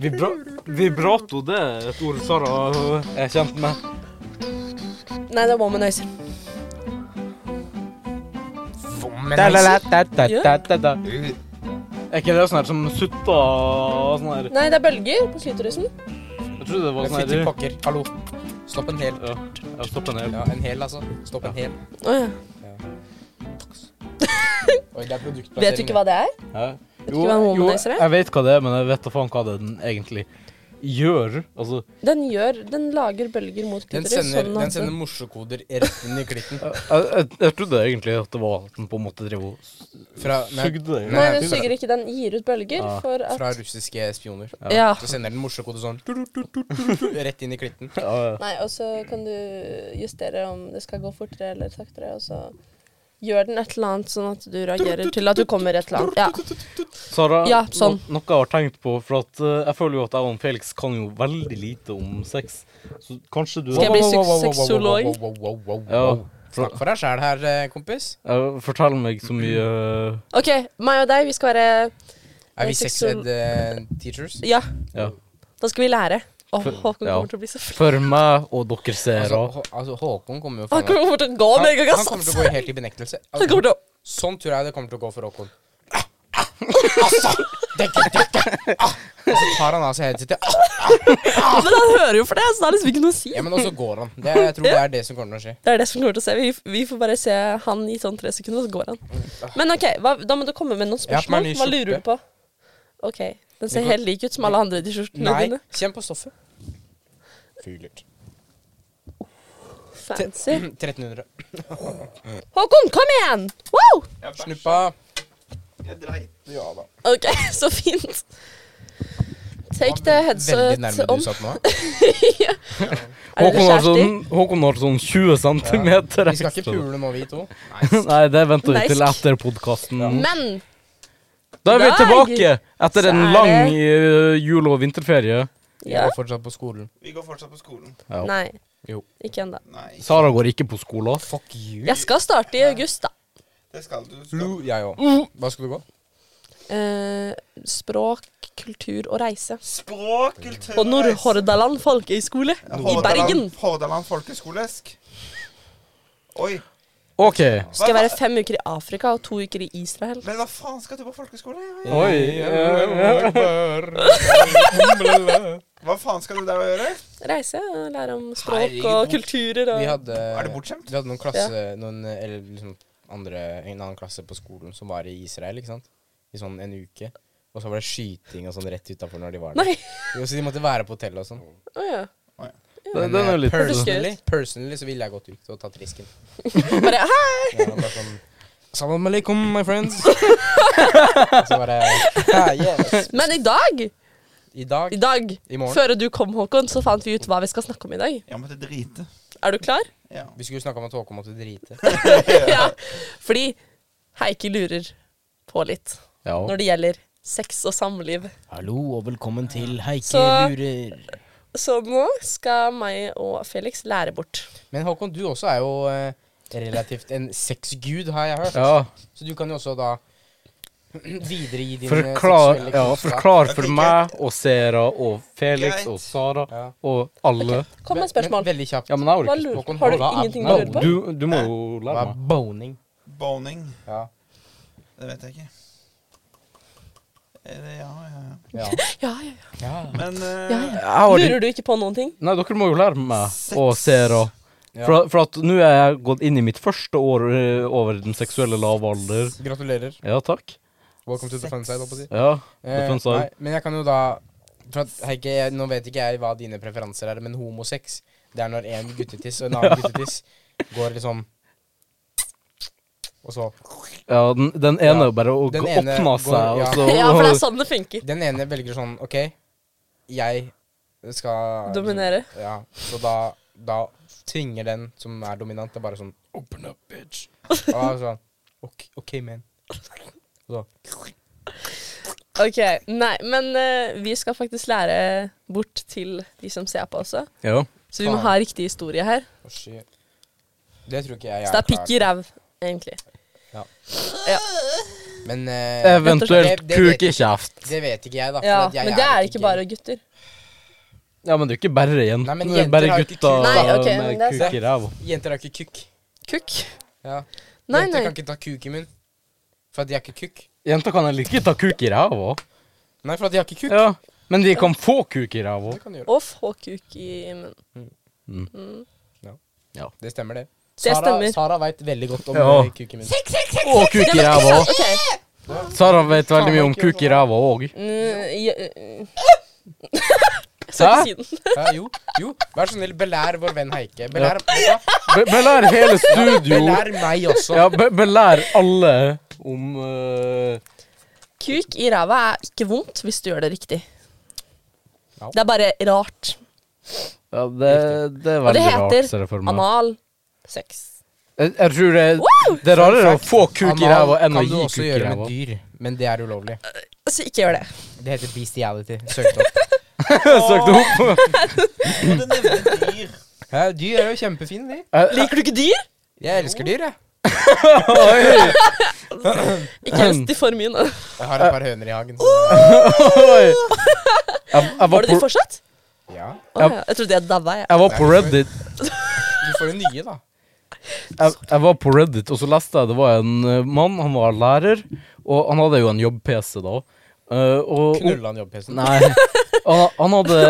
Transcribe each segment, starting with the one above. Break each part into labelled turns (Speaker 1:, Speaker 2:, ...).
Speaker 1: Vibra vibrato, det er et ord Sara er kjent med.
Speaker 2: Nei, det er womanizer.
Speaker 1: Er ikke det sånn her som sutta sånn her
Speaker 2: Nei, det er bølger på klitorisen.
Speaker 1: Jeg trodde det var sånn
Speaker 3: Fytti
Speaker 1: her
Speaker 3: pokker. Hallo. Stopp en hel.
Speaker 1: Ja, ja, stopp en hel.
Speaker 3: Ja, en hel, altså. Stopp en hel.
Speaker 2: Å ja.
Speaker 3: Oi, det er produktplassering.
Speaker 2: Vet du ikke hva det er?
Speaker 1: Ja.
Speaker 2: du hva en womanizer er?
Speaker 1: jeg vet hva det er, men jeg vet da faen hva det er den egentlig gjør. Altså,
Speaker 2: Den gjør Den lager bølger mot
Speaker 3: Den
Speaker 2: klitoris.
Speaker 3: sender,
Speaker 2: Sånn
Speaker 3: den
Speaker 2: at
Speaker 3: sender morsekoder rett inn i klitten.
Speaker 1: jeg, jeg, jeg trodde egentlig at det var at den på en måte drev og
Speaker 3: Fra, nei,
Speaker 1: sugde det.
Speaker 2: Nei,
Speaker 3: Nei,
Speaker 2: den
Speaker 3: fra-
Speaker 2: suger ikke. Den gir ut bølger
Speaker 1: Ja.
Speaker 2: for at
Speaker 3: Ah, fra russiske spioner.
Speaker 2: Ja.
Speaker 3: Så sender den morsekode sånn rett inn i klitten.
Speaker 1: Ja, ja.
Speaker 2: Nei, og så kan du justere om det skal gå fortere eller saktere, og så gjør den et eller annet sånn at du reagerer til at du kommer et eller annet.
Speaker 1: Sara,
Speaker 2: Ja, sånn.
Speaker 1: no noe jeg har tenkt på, for at eh, jeg føler jo at jeg og Felix kan jo veldig lite om sex. Så kanskje du
Speaker 2: Skal jeg bli
Speaker 3: Wow, wow, wow, wow, wow, wow,
Speaker 2: sexolog?
Speaker 3: wow, wow, wow, wow,
Speaker 1: Ja,
Speaker 3: wow. Snakk for deg sjæl her, eh, kompis.
Speaker 1: eh, Fortell meg så mye eh,
Speaker 2: Ja. OK, meg og deg, vi skal være
Speaker 3: Er vi
Speaker 2: Eh,
Speaker 3: sex
Speaker 2: sexol-
Speaker 3: ed eh, teachers?
Speaker 2: Ja,
Speaker 1: ja.
Speaker 2: da skal vi lære. Å, Håkon
Speaker 1: ja.
Speaker 2: kommer til å bli så fl...
Speaker 1: For meg og dere
Speaker 3: Altså,
Speaker 1: seere.
Speaker 3: Hå- altså Håkon kommer jo
Speaker 2: Han
Speaker 3: faen meg-
Speaker 2: kommer til å gå
Speaker 3: Han,
Speaker 2: med en gang,
Speaker 3: han kommer til å
Speaker 2: altså!
Speaker 3: gå helt i benektelse.
Speaker 2: Han kommer til å
Speaker 3: Sånn tror jeg det kommer til å gå for Håkon. Altså! Dekke, dekke! Ah! Og så tar han av seg headsetet. Ah!
Speaker 2: Ah, Men han hører jo for det, så det er liksom ikke noe å si.
Speaker 3: Ja, men også går han. Det, jeg tror det er det som kommer til å skje.
Speaker 2: Det er det som kommer til å se. Vi, vi får bare se han i sånn tre sekunder, og så går han. Men OK, hva, da må du komme med noen
Speaker 3: Ah. Jeg har på
Speaker 2: spørsmål.
Speaker 3: meg en ny
Speaker 2: Hva lurer
Speaker 3: skjorte.
Speaker 2: du på? OK. Den ser
Speaker 3: Vi kan-
Speaker 2: helt lik ut som alle andre de skjortene
Speaker 3: Nei,
Speaker 2: dine.
Speaker 3: kjenn på stoffet. Fugler.
Speaker 2: Fancy.
Speaker 3: 1300.
Speaker 2: Håkon, kom igjen! Wow!
Speaker 3: Snuppa.
Speaker 4: Jeg dreit.
Speaker 3: Ja da.
Speaker 2: OK, så fint. Take the
Speaker 3: Veldig
Speaker 2: headset
Speaker 3: nærme
Speaker 2: om.
Speaker 3: du satt nå.
Speaker 2: Altså, Er det
Speaker 1: Håkon har,
Speaker 2: kjærester?
Speaker 1: sånn, Håkon har sånn 20 cm
Speaker 3: Vi skal ikke pule nå, vi to.
Speaker 1: Nei, det venter vi
Speaker 2: Nei,
Speaker 1: til
Speaker 2: sk-
Speaker 1: etter podkasten.
Speaker 2: Men
Speaker 1: Da er vi
Speaker 2: dag
Speaker 1: tilbake etter
Speaker 2: så
Speaker 1: en
Speaker 2: er
Speaker 1: lang
Speaker 2: det-
Speaker 1: eh, jul- og vinterferie.
Speaker 3: Jeg
Speaker 2: ja.
Speaker 3: er fortsatt på skolen.
Speaker 4: Vi går fortsatt på skolen.
Speaker 1: Ja.
Speaker 2: Nei.
Speaker 3: Jo.
Speaker 2: Ikke ennå.
Speaker 4: Nei,
Speaker 1: Sara går ikke på skolen.
Speaker 3: Fuck you.
Speaker 2: Jeg skal starte i august, da.
Speaker 4: det skal du. Skal.
Speaker 3: Blue, jeg
Speaker 2: Mm.
Speaker 3: òg. Hva skal du gå?
Speaker 2: Eh, språk, kultur og reise.
Speaker 4: Språk, kultur
Speaker 2: På Nordhordaland folkehøgskole i
Speaker 4: Hordaland-
Speaker 2: Bergen.
Speaker 4: Hordaland folkeskolesk. Oi.
Speaker 1: OK.
Speaker 2: Skal jeg være fem uker i Afrika og to uker i Israel.
Speaker 4: Men hva faen skal du på folkeskole?
Speaker 1: Oi. eh,
Speaker 4: Hva faen skal du der og gjøre?
Speaker 2: Reise og lære om språk
Speaker 3: Herregud,
Speaker 2: og
Speaker 3: hvor-
Speaker 2: kulturer og
Speaker 3: Vi hadde
Speaker 4: Er det bortskjemt?
Speaker 3: Vi hadde noen klasse noen, Eller liksom andre, en annen klasse på skolen som var i Israel, ikke sant? I sånn en uke. Og så var det skyting og sånn rett utafor når de var der.
Speaker 2: Nei!
Speaker 3: Jo, så de måtte være på hotellet og sånn.
Speaker 2: Å ja.
Speaker 1: Den den er
Speaker 3: eh,
Speaker 1: jo litt
Speaker 2: Hørtes gøy ut.
Speaker 3: personally, personally så ville jeg gått ut og tatt risken.
Speaker 2: Bare hæ?
Speaker 3: Ja, bare sånn Salam alaikum, my friends. Og så bare «Ah, yes.
Speaker 2: Men i dag,
Speaker 3: I dag
Speaker 2: i dag
Speaker 3: I morgen.
Speaker 2: før du kom, Håkon, så fant vi ut hva vi skal snakke om i dag.
Speaker 4: Jeg måtte drite.
Speaker 2: Er du klar?
Speaker 4: Ja.
Speaker 3: Vi skulle snakke om at Håkon måtte drite.
Speaker 2: ja. Fordi Heikki lurer på litt
Speaker 1: Ja.
Speaker 2: når det gjelder sex og samliv.
Speaker 3: Hallo og velkommen til Heike
Speaker 2: Så-
Speaker 3: lurer.
Speaker 2: Så nå skal meg og Felix lære bort.
Speaker 3: Men Håkon, du også er jo eh, relativt en sexgud, har jeg hørt.
Speaker 1: ja.
Speaker 3: Så du kan jo også da videregi din eh,
Speaker 1: Forklar,
Speaker 3: seksuelle
Speaker 1: ja,
Speaker 3: kunnskap.
Speaker 1: forklar for
Speaker 4: Jeg tenker
Speaker 1: meg og Sera og Felix
Speaker 4: Greit.
Speaker 1: og Sara
Speaker 3: Ja.
Speaker 1: og alle.
Speaker 2: Kom med
Speaker 3: Men-
Speaker 2: et spørsmål.
Speaker 3: Men, veldig kjapt.
Speaker 1: Ja, men jeg
Speaker 2: Hva
Speaker 1: har ikke
Speaker 2: lurer
Speaker 3: Håkon,
Speaker 2: Har du
Speaker 3: hva er-
Speaker 2: ingenting du
Speaker 3: hva-
Speaker 2: lurer på?
Speaker 1: Du, du må jo
Speaker 3: Hva
Speaker 1: lære
Speaker 3: er
Speaker 1: meg.
Speaker 3: boning?
Speaker 4: Boning.
Speaker 3: Ja.
Speaker 4: Det vet jeg ikke. Er det- Ja, ja, ja.
Speaker 3: ja.
Speaker 2: Ja, ja, ja.
Speaker 3: ja.
Speaker 4: Men eh,
Speaker 2: Ja, ja.
Speaker 1: Jeg har ikke-
Speaker 2: Lurer du ikke på noen ting?
Speaker 1: Nei, dere må jo lære meg
Speaker 4: Sex.
Speaker 1: og Sera.
Speaker 3: Ja.
Speaker 1: For, for at nå er jeg gått inn i mitt første år eh, over den seksuelle lavalder.
Speaker 3: Gratulerer.
Speaker 1: Ja, takk.
Speaker 3: Welcome to the
Speaker 4: Sex.
Speaker 3: fun side, holdt på å si.
Speaker 1: Ja,
Speaker 3: Eh,
Speaker 1: fun side.
Speaker 3: nei, men jeg kan jo da for at, Heike, jeg, Nå vet ikke jeg hva dine preferanser er, men homosex Det er når en guttetiss og en annen guttetiss går liksom Og så
Speaker 1: ja den, den ene
Speaker 3: Ja,
Speaker 1: bare å altså,
Speaker 3: den
Speaker 1: gå-
Speaker 3: ene
Speaker 1: åpna
Speaker 3: går-
Speaker 1: seg, og
Speaker 3: ja.
Speaker 1: så
Speaker 2: Ja, for det er sånn det funker.
Speaker 3: Den ene velger sånn OK, jeg skal
Speaker 2: Dominere.
Speaker 3: Ja, så da, da tvinger den som er dominant, til bare sånn Open up, bitch. Og da er det sånn OK, ok, man. Og så
Speaker 2: Ok, Nei, men eh, vi skal faktisk lære bort til de som ser på også.
Speaker 1: Ja.
Speaker 2: Så vi må ha riktig historie her.
Speaker 3: Å, shit. Det tror ikke jeg jeg
Speaker 2: Så det er
Speaker 3: klar
Speaker 2: pikk i ræv, egentlig.
Speaker 3: Ja.
Speaker 2: Ja.
Speaker 3: Men eh,
Speaker 1: Eventuelt
Speaker 3: Det- det vet-
Speaker 1: kukekjeft.
Speaker 3: det vet ikke jeg, da. for
Speaker 2: Ja,
Speaker 3: at jeg
Speaker 2: men det er ikke
Speaker 3: ikke-
Speaker 2: bare gutter.
Speaker 1: Ja, men det er jo ikke bare
Speaker 3: Nei,
Speaker 1: jentene. det
Speaker 3: men
Speaker 1: er
Speaker 3: jenter
Speaker 1: bare
Speaker 3: har ikke
Speaker 1: gutta
Speaker 2: kuk. Nei, ok, men
Speaker 1: med
Speaker 2: det er
Speaker 1: kuk i ræva.
Speaker 3: Jenter har ikke kukk.
Speaker 2: Kukk?
Speaker 3: Ja.
Speaker 2: Nei,
Speaker 3: Jenter
Speaker 2: nei.
Speaker 3: kan ikke ta kuk i munnen. For at de har ikke kukk.
Speaker 1: Jenter kan heller ikke ta kuk i ræva.
Speaker 3: Nei, for at de har ikke kukk.
Speaker 1: Ja. Men de kan få kuk i ræva.
Speaker 3: Det kan de gjøre.
Speaker 2: Og få kuk i munnen.
Speaker 1: Mm.
Speaker 2: Mm.
Speaker 3: Det stemmer, det.
Speaker 2: Det stemmer.
Speaker 3: Sara veit veldig godt om
Speaker 1: Ja.
Speaker 3: eh, kuk i munnen.
Speaker 1: Og kuk i ræva òg.
Speaker 2: sånn- Ok.
Speaker 1: Sara vet veldig mye om kuk i ræva òg.
Speaker 2: Mm, ja, mm. Jeg
Speaker 1: Hæ?
Speaker 2: skal ikke si den.
Speaker 3: Ja, jo, jo. Vær så snill, belær vår venn Heike. Belær, ja.
Speaker 1: Be belær hele studio.
Speaker 3: belær meg også.
Speaker 1: Ja, be belær alle om eh,
Speaker 2: Kuk i ræva er ikke vondt hvis du gjør det riktig.
Speaker 3: Ja.
Speaker 2: Det er bare rart.
Speaker 1: Ja, det, det er
Speaker 2: Og
Speaker 1: veldig
Speaker 2: det
Speaker 1: rart, ser
Speaker 2: heter
Speaker 1: jeg for meg.
Speaker 2: anal sex.
Speaker 1: Jeg, jeg tror det, det er rarere å få kuk i ræva enn å
Speaker 3: kan du
Speaker 1: gi
Speaker 3: også
Speaker 1: kuk i
Speaker 3: gjøre med
Speaker 1: ræva.
Speaker 3: dyr, men det er ulovlig.
Speaker 2: Så Altså, ikke gjør det.
Speaker 3: Det heter bestiality. Søk det opp.
Speaker 1: Søkt opp.
Speaker 4: Og det nevnte dyr.
Speaker 3: Ja, dyr er jo kjempefine, de.
Speaker 1: Jeg,
Speaker 2: Liker du ikke dyr?
Speaker 3: Jeg elsker dyr, jeg.
Speaker 1: oi,
Speaker 2: Ikke
Speaker 3: Ehm.
Speaker 2: helst de for mye. nå.
Speaker 3: Jeg har et par høner i hagen. Så,
Speaker 1: oi. Jeg, jeg,
Speaker 2: Har
Speaker 1: var
Speaker 2: du de
Speaker 1: på,
Speaker 2: fortsatt?
Speaker 3: ja.
Speaker 2: Å,
Speaker 1: Ja.
Speaker 2: ja. Jeg trodde jeg daua, jeg.
Speaker 1: jeg var på Reddit,
Speaker 3: Du får jo nye, da.
Speaker 1: jeg, jeg var på Reddit, og så leste jeg det var en eh, mann, han var lærer, og han hadde jo en jobb-PC da. Eh, og,
Speaker 3: Knulla han jobb-PC-en.
Speaker 1: Nei. Han, han, hadde,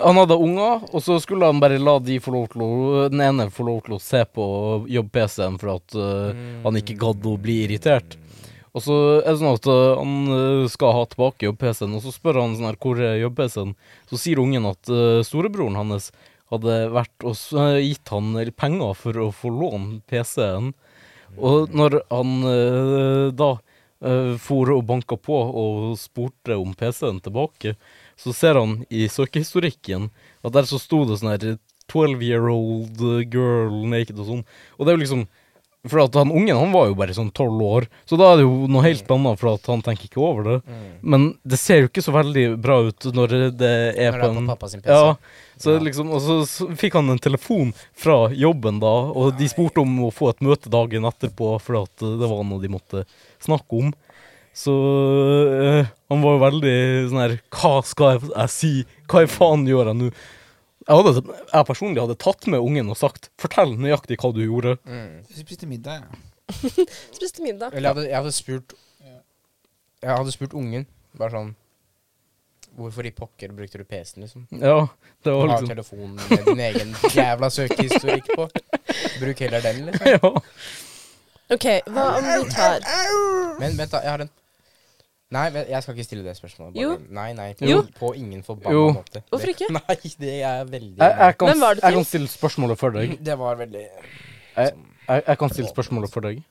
Speaker 1: han hadde unger, og så skulle han bare la de få lov til å Den ene få lov til å se på jobb-PC-en for at øh, han ikke gadd å bli irritert. Og så er det sånn at øh, han øh, skal ha tilbake jobb-PC-en, og så spør han sånn her hvor er jobb-PC-en? Så sier ungen at øh, storebroren hans hadde vært og s- øh, gitt han penger for å få låne PC-en. Og når han eh, da eh, for og banka på og spurte om PC-en tilbake, så ser han i søkehistorikken at der så sto det sånn her 12 year old girl naked og sånn. Og det er jo liksom For at han ungen han var jo bare sånn tolv år, så da er det jo noe helt annet, for at han tenker ikke over det. Men det ser jo ikke så veldig bra ut Mm. når det er
Speaker 3: Når det
Speaker 1: på
Speaker 3: er
Speaker 1: en
Speaker 3: på pappa sin PC.
Speaker 1: Ja, så liksom, og så, så fikk han en telefon fra jobben da, og de spurte om å få et møte dagen etterpå, for at eh, det var noe de måtte snakke om. Så eh, han var jo veldig sånn her Hva skal jeg, jeg si? Hva i faen gjør jeg nå? Jeg, hadde, jeg personlig hadde tatt med ungen og sagt 'fortell nøyaktig hva du gjorde'.
Speaker 3: Mm.
Speaker 4: Jeg spiste middag, jeg.
Speaker 2: Spiste middag.
Speaker 3: Eller jeg hadde, jeg hadde spurt Jeg hadde spurt ungen, bare sånn Hvorfor i pokker brukte du PC-en, liksom?
Speaker 1: Ja, det
Speaker 3: Du
Speaker 1: var
Speaker 3: har
Speaker 1: liksom
Speaker 3: telefonen med din egen jævla søkehistorikk på. Bruk heller den, liksom.
Speaker 1: ja.
Speaker 2: OK, hva om vi tar
Speaker 3: Men vent, da. Jeg har en Nei, vent, jeg skal ikke stille det spørsmålet. Bare.
Speaker 2: Jo.
Speaker 3: Nei, nei. På,
Speaker 2: Jo.
Speaker 3: på ingen forbanna
Speaker 1: Jo.
Speaker 3: måte.
Speaker 2: Hvorfor ikke?
Speaker 3: Nei, det er veldig
Speaker 1: jeg, jeg,
Speaker 2: Hvem
Speaker 1: kan,
Speaker 2: var det
Speaker 1: jeg
Speaker 2: til?
Speaker 1: kan stille spørsmålet for deg.
Speaker 3: Det var veldig
Speaker 1: Jeg, jeg kan stille spørsmålet for deg.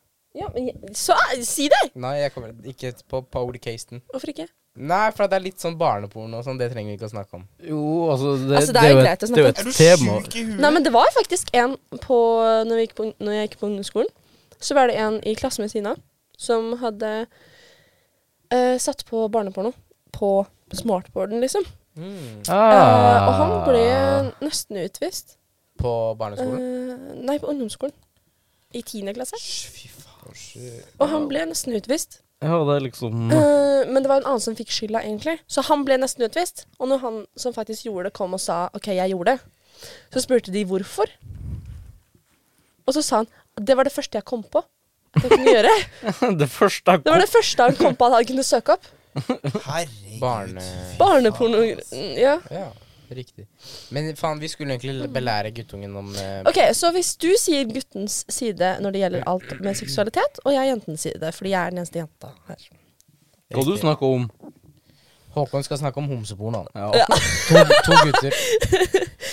Speaker 2: Ja, men jeg- Så si det!
Speaker 3: Nei, jeg kommer ikke på Powercasten.
Speaker 2: Hvorfor ikke?
Speaker 3: Nei, for det er litt sånn barneporno og sånn. Det trenger vi ikke å snakke om.
Speaker 1: Jo, altså Det,
Speaker 2: Altså, det er jo
Speaker 1: et-
Speaker 2: greit
Speaker 1: det
Speaker 2: å
Speaker 1: er jo
Speaker 2: snakke
Speaker 1: et
Speaker 4: Er du
Speaker 1: tema.
Speaker 4: sjuk i
Speaker 3: Mm.
Speaker 4: huet?
Speaker 2: Nei, men det var faktisk en på Når, vi gikk på, når jeg gikk på ungdomsskolen, så var det en i klassen ved siden av som hadde eh, satt på barneporno på smartboarden, liksom.
Speaker 3: Mm.
Speaker 2: Eh,
Speaker 1: Ah.
Speaker 2: og han ble nesten utvist.
Speaker 3: På barneskolen?
Speaker 2: Eh, nei, på ungdomsskolen. I tiende klasse.
Speaker 3: Fy faen. shit.
Speaker 2: Og han ble nesten utvist.
Speaker 1: Ja, det er liksom
Speaker 2: Eh, men det var en annen som fikk skylda, egentlig. Så han ble nesten utvist. Og når han som faktisk gjorde det, kom og sa OK, jeg gjorde det, så spurte de hvorfor. Og så sa han det var det første jeg kom på. at jeg kunne gjøre.
Speaker 1: Det første jeg
Speaker 2: Det var det første han kom på at han kunne søke opp.
Speaker 4: Herregud.
Speaker 3: Barne-
Speaker 2: Barneporno... Ja.
Speaker 3: Ja, riktig. Men faen, vi skulle egentlig belære guttungen om eh,
Speaker 2: OK, så hvis du sier guttens side når det gjelder alt med seksualitet, og jeg er jentens side, fordi jeg er den eneste jenta her.
Speaker 1: Hva du
Speaker 3: riktig.
Speaker 1: snakker om?
Speaker 3: Håkon skal snakke om homseporno. han.
Speaker 1: Ja.
Speaker 3: To, to gutter. Det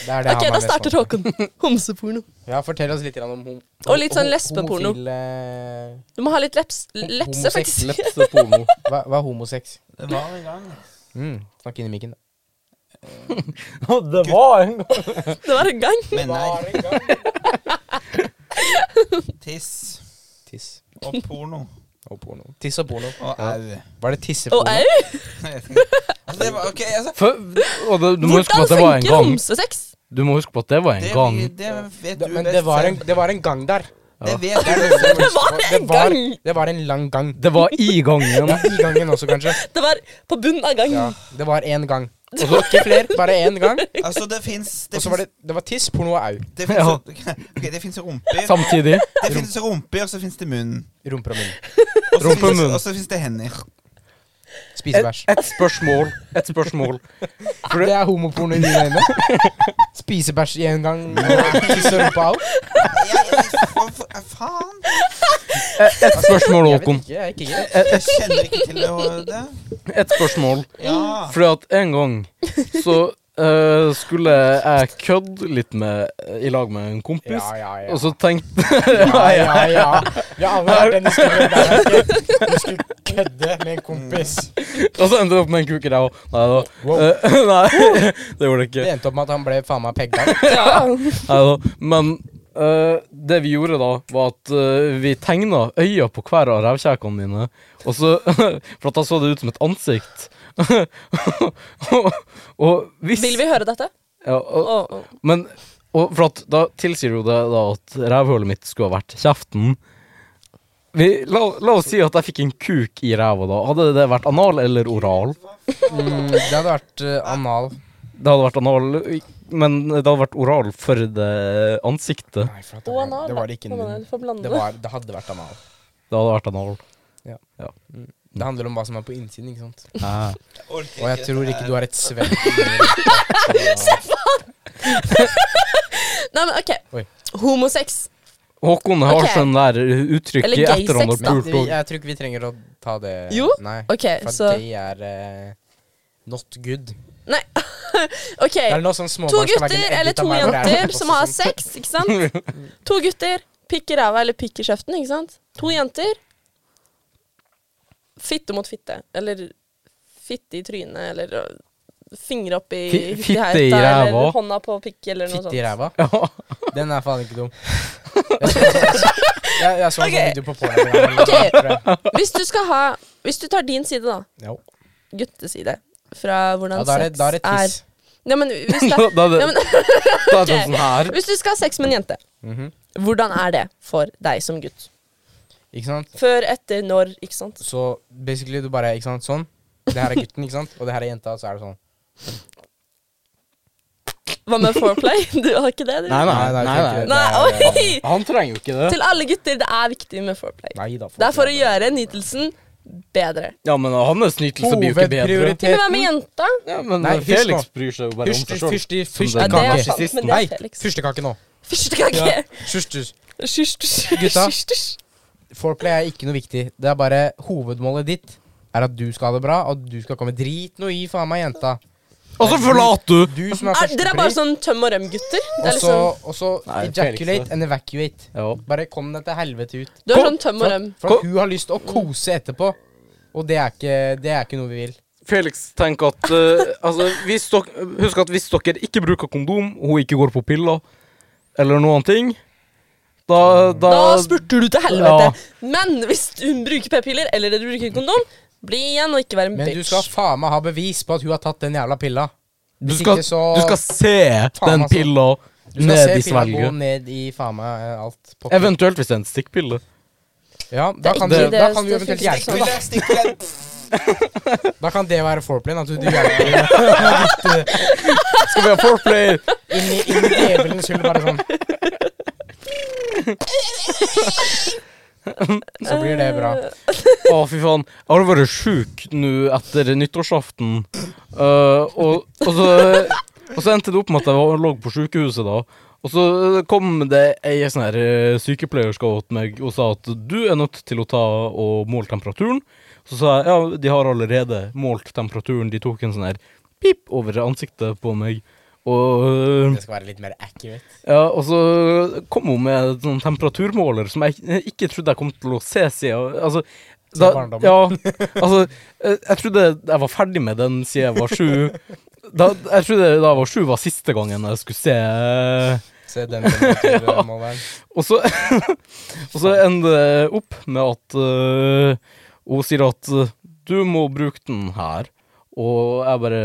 Speaker 3: er det
Speaker 2: OK, da
Speaker 3: han er mest vant
Speaker 2: starter
Speaker 3: til.
Speaker 2: Håkon. Homseporno.
Speaker 3: Ja, fortell oss litt grann om hom
Speaker 2: Og litt sånn
Speaker 3: ho-
Speaker 2: lesbeporno.
Speaker 3: homofile-
Speaker 2: Du må ha litt leps, lepse, faktisk.
Speaker 1: Lepseporno.
Speaker 3: Hva, hva er homosex?
Speaker 4: Det var en gang.
Speaker 3: Mm, snakk inn i mikken. da.
Speaker 1: det var en gang
Speaker 2: Det var en gang.
Speaker 4: Menner, tiss
Speaker 3: Tiss
Speaker 4: og porno.
Speaker 3: og porno. Tiss og porno.
Speaker 4: Og
Speaker 3: Ja.
Speaker 4: au.
Speaker 3: Var det
Speaker 2: Og
Speaker 3: tisseporno?
Speaker 2: au!
Speaker 4: Jeg vet ikke. Altså, det var, ok, altså,
Speaker 1: Og det, du må huske på at
Speaker 2: Hvordan
Speaker 1: det var en
Speaker 2: funker
Speaker 1: gang.
Speaker 2: homsesex?
Speaker 1: Du må huske på at det var en
Speaker 4: det,
Speaker 1: gang.
Speaker 4: det vet
Speaker 3: Da,
Speaker 4: du
Speaker 3: men
Speaker 4: best
Speaker 3: det var, en,
Speaker 4: selv.
Speaker 3: det var en gang der.
Speaker 4: Det vet
Speaker 3: Det,
Speaker 4: jeg.
Speaker 3: er det, det,
Speaker 2: Det var en
Speaker 3: var,
Speaker 2: gang!
Speaker 3: det var en lang gang.
Speaker 1: Det var i gangen.
Speaker 3: I gangen også, kanskje.
Speaker 2: Det var på bunnen av gangen.
Speaker 3: Ja, det var én gang. Og så ikke flere, bare én gang.
Speaker 4: Altså, det fins
Speaker 3: Og så var det, det var tiss, porno og au.
Speaker 4: Det
Speaker 1: Ja.
Speaker 4: finnes, ok, det finnes rumper.
Speaker 1: Samtidig.
Speaker 4: Det finnes rumper, og så finnes det munn.
Speaker 3: Rumper og munn.
Speaker 4: Og så
Speaker 1: Rumpe og
Speaker 4: finnes-
Speaker 1: munn.
Speaker 4: Og så finnes det hender.
Speaker 1: Et,
Speaker 3: Spisebæsj.
Speaker 1: Altså, et spørsmål. Et spørsmål.
Speaker 3: Det er homoporno i mine øyne. Spisebæsj i en gang, tiss og rumpe au.
Speaker 4: Jeg, jeg, for, for, faen!
Speaker 1: Et, et spørsmål,
Speaker 3: Jeg vet
Speaker 1: Håkon.
Speaker 3: ikke, jeg er ikke gay.
Speaker 4: Jeg kjenner ikke til det. og det.
Speaker 1: Et spørsmål.
Speaker 4: Ja.
Speaker 1: Fordi at en gang så eh, skulle jeg kødde litt med i lag med en kompis,
Speaker 3: Ja, ja, ja.
Speaker 1: og så tenkte
Speaker 3: Ja, ja, ja. Jeg har aldri hørt den historien der. ok? Du skulle kødde med en kompis.
Speaker 1: Og så endte det opp med en kuk i ræva. Nei da.
Speaker 3: Wow.
Speaker 1: Eh, nei, det gjorde det ikke.
Speaker 3: Det endte opp med at han ble faen meg pegga.
Speaker 1: Nei da. Men eh, det vi gjorde da, var at eh, vi tegna øya på hver av rævkjekene mine. Og så, for at da så det ut som et ansikt. og, og hvis
Speaker 2: Vil vi høre dette?
Speaker 1: ja, og,
Speaker 2: Å, å.
Speaker 1: Men og for at da tilsier jo det da at rævhullet mitt skulle ha vært kjeften. Vi, la, la oss si at jeg fikk en kuk i ræva da. Hadde det vært anal eller oral?
Speaker 3: Mm, det hadde vært eh, anal.
Speaker 1: Det hadde vært anal, men det hadde vært oral for det ansiktet.
Speaker 3: Nei, for at det,
Speaker 2: Og anal.
Speaker 3: var, det var
Speaker 2: da.
Speaker 3: ikke
Speaker 2: Å,
Speaker 3: en
Speaker 2: nei,
Speaker 3: munn.
Speaker 2: Du får blande
Speaker 3: Det,
Speaker 2: det.
Speaker 3: var, det hadde vært anal.
Speaker 1: Det hadde vært anal.
Speaker 3: Det handler om hva som er på innsiden, ikke sant.
Speaker 1: Eh,
Speaker 4: Jeg orker
Speaker 3: Og jeg tror ikke du har et svett.
Speaker 2: Nei, men OK.
Speaker 3: Oi.
Speaker 2: Homosex.
Speaker 1: Håkon har
Speaker 2: Ok. sånn
Speaker 1: sånn der uttrykk
Speaker 2: Eller gay
Speaker 1: etter han har
Speaker 2: sex, da.
Speaker 1: pult
Speaker 3: Vi, jeg tror ikke vi trenger å ta det
Speaker 2: Jo,
Speaker 3: Nei.
Speaker 2: OK,
Speaker 3: For
Speaker 2: så
Speaker 3: det er eh, not good.
Speaker 2: OK.
Speaker 3: Det er noe sånn småbarn
Speaker 2: Eh, To
Speaker 3: skal legge en
Speaker 2: gutter
Speaker 3: egg
Speaker 2: eller
Speaker 3: ut
Speaker 2: to
Speaker 3: av meg, og det er
Speaker 2: jenter
Speaker 3: også
Speaker 2: som har
Speaker 3: sånn-
Speaker 2: sex, ikke sant? To gutter. Pikk i ræva eller pikk i kjeften, ikke sant? To jenter. Fitte mot fitte. Eller fitte i trynet, eller øh, fingre opp i
Speaker 1: Fi-
Speaker 2: i
Speaker 1: fitte
Speaker 2: hauta,
Speaker 1: i ræva.
Speaker 2: Eller hånda på pikk, eller noe
Speaker 3: Fitte i
Speaker 2: sånt.
Speaker 3: ræva?
Speaker 1: Ja.
Speaker 3: Den er faen ikke dum. Jeg så, jeg, jeg så en
Speaker 2: Ok.
Speaker 3: sånn video på porno.
Speaker 2: Ok.
Speaker 3: Okay.
Speaker 2: Hvis du skal ha Hvis du tar din side, da.
Speaker 3: Ja,
Speaker 2: Gutteside. Fra hvordan
Speaker 3: da er det,
Speaker 2: sex
Speaker 3: da er det tiss.
Speaker 2: Ja, men hvis, det,
Speaker 1: Da er det,
Speaker 2: ja, men,
Speaker 1: da er det
Speaker 2: ok.
Speaker 1: sånn her.
Speaker 2: hvis du skal ha sex med en jente,
Speaker 3: Mhm.
Speaker 2: hvordan er det for deg som gutt?
Speaker 3: Ikke sant?
Speaker 2: Før, etter, når, ikke sant?
Speaker 3: Så basically du bare, ikke sant, sånn. Det her er gutten, ikke sant? Og det her er jenta, og så er det sånn.
Speaker 2: Hva med foreplay? Du har ikke det, du?
Speaker 1: Nei, nei, nei. nei,
Speaker 3: det er-
Speaker 2: Nei,
Speaker 3: det er-
Speaker 2: oi!
Speaker 1: Han trenger jo ikke det.
Speaker 2: Til alle gutter, det er viktig med foreplay.
Speaker 3: Nei da. folk
Speaker 2: Det er for å
Speaker 3: jobber.
Speaker 2: gjøre nytelsen bedre.
Speaker 1: Ja, men hans nytelse blir jo ikke bedre.
Speaker 2: Til og med med jenta.
Speaker 1: Ja, men
Speaker 3: Nei, hysj nå.
Speaker 1: Felix bryr seg jo bare om
Speaker 3: Fyrst,
Speaker 1: seg sjøl.
Speaker 3: fyrst, fyrst,
Speaker 1: Ja,
Speaker 2: Ja,
Speaker 1: det
Speaker 2: det
Speaker 1: er
Speaker 2: er
Speaker 3: fyrstekake.
Speaker 1: sant,
Speaker 2: sant,
Speaker 1: men
Speaker 2: men det
Speaker 3: Nei,
Speaker 2: er Felix.
Speaker 3: fyrstekake nå.
Speaker 2: Første gang.
Speaker 3: Ja. Fyrstes. Gutta. Foreplay er ikke noe viktig. Det er bare hovedmålet ditt er at du skal ha det bra, og du skal komme drit noe i faen meg jenta.
Speaker 1: Og så forlater du!
Speaker 3: Du som er
Speaker 2: Er, dere er bare
Speaker 3: førstepriorit.
Speaker 2: sånn tøm og røm-gutter. Det
Speaker 3: Og
Speaker 2: er liksom,
Speaker 3: så- og så
Speaker 1: Nei, Felix,
Speaker 3: ejaculate
Speaker 1: det.
Speaker 3: and evacuate.
Speaker 1: Ja.
Speaker 3: Bare kom deg til helvete ut.
Speaker 2: du er
Speaker 1: Kom.
Speaker 2: sånn tøm og røm.
Speaker 3: For at hun har lyst å kose etterpå, og det er ikke, det er ikke noe vi vil.
Speaker 1: Felix tenker at eh, altså, hvis dok Husk at hvis dere ikke bruker kondom, og hun ikke går på piller eller noen ting, da Da,
Speaker 2: Da spurter du til
Speaker 1: Ja.
Speaker 2: helvete. Men hvis du bruker p-piller eller du bruker kondom, bli igjen og ikke vær en
Speaker 3: Men du
Speaker 2: bitch.
Speaker 3: skal faen meg ha bevis på at hun har tatt den jævla pilla.
Speaker 1: du,
Speaker 3: Hvis
Speaker 1: skal,
Speaker 3: ikke så
Speaker 1: du skal se den
Speaker 3: altså.
Speaker 1: pilla
Speaker 3: Du skal
Speaker 1: ned
Speaker 3: se
Speaker 1: i
Speaker 3: pilla gå
Speaker 1: svelget.
Speaker 3: ned i faen meg eh, alt. pokker.
Speaker 1: Eventuelt hvis det er en stikkpille.
Speaker 3: Ja,
Speaker 2: Det
Speaker 3: da
Speaker 2: er ikke
Speaker 3: kan, du, da
Speaker 2: det-
Speaker 3: kan du
Speaker 2: det
Speaker 3: eventuelt
Speaker 2: funker ikke
Speaker 3: hjelpe.
Speaker 2: sånn.
Speaker 3: Da.
Speaker 4: Stikkpille, stikkpille.
Speaker 3: da kan det være foreplayen. At du, du hjelper henne
Speaker 1: Skal vi ha foreplay?
Speaker 3: inn i, inn i djevelens hull, bare sånn. Så blir det bra.
Speaker 1: Å, fy faen. Jeg har vært sjuk nå etter nyttårsaften. Eh, og, og, så, og så endte det opp med at jeg var, lå på sjukehuset da. Og så eh, kom det ei sånn her eh, sykepleier skal åt meg og sa at du er nødt til å ta og måle temperaturen. Så sa jeg ja, de har allerede målt temperaturen. De tok en sånn her pip over ansiktet på meg. Og eh,
Speaker 3: Det skal være litt mer accurate.
Speaker 1: ja, og så kom hun med en sånn temperaturmåler som jeg eh, ikke trodde jeg kom til å se siden altså,
Speaker 3: Siden barndommen.
Speaker 1: Ja, altså, eh, jeg trodde jeg var ferdig med den siden jeg var sju. Da, jeg trodde da jeg var sju var siste gangen jeg skulle se eh,
Speaker 3: Se den temperaturmåleren.
Speaker 1: Og så, og så ender det opp med at eh, hun sier at eh, du må bruke den her. Og jeg bare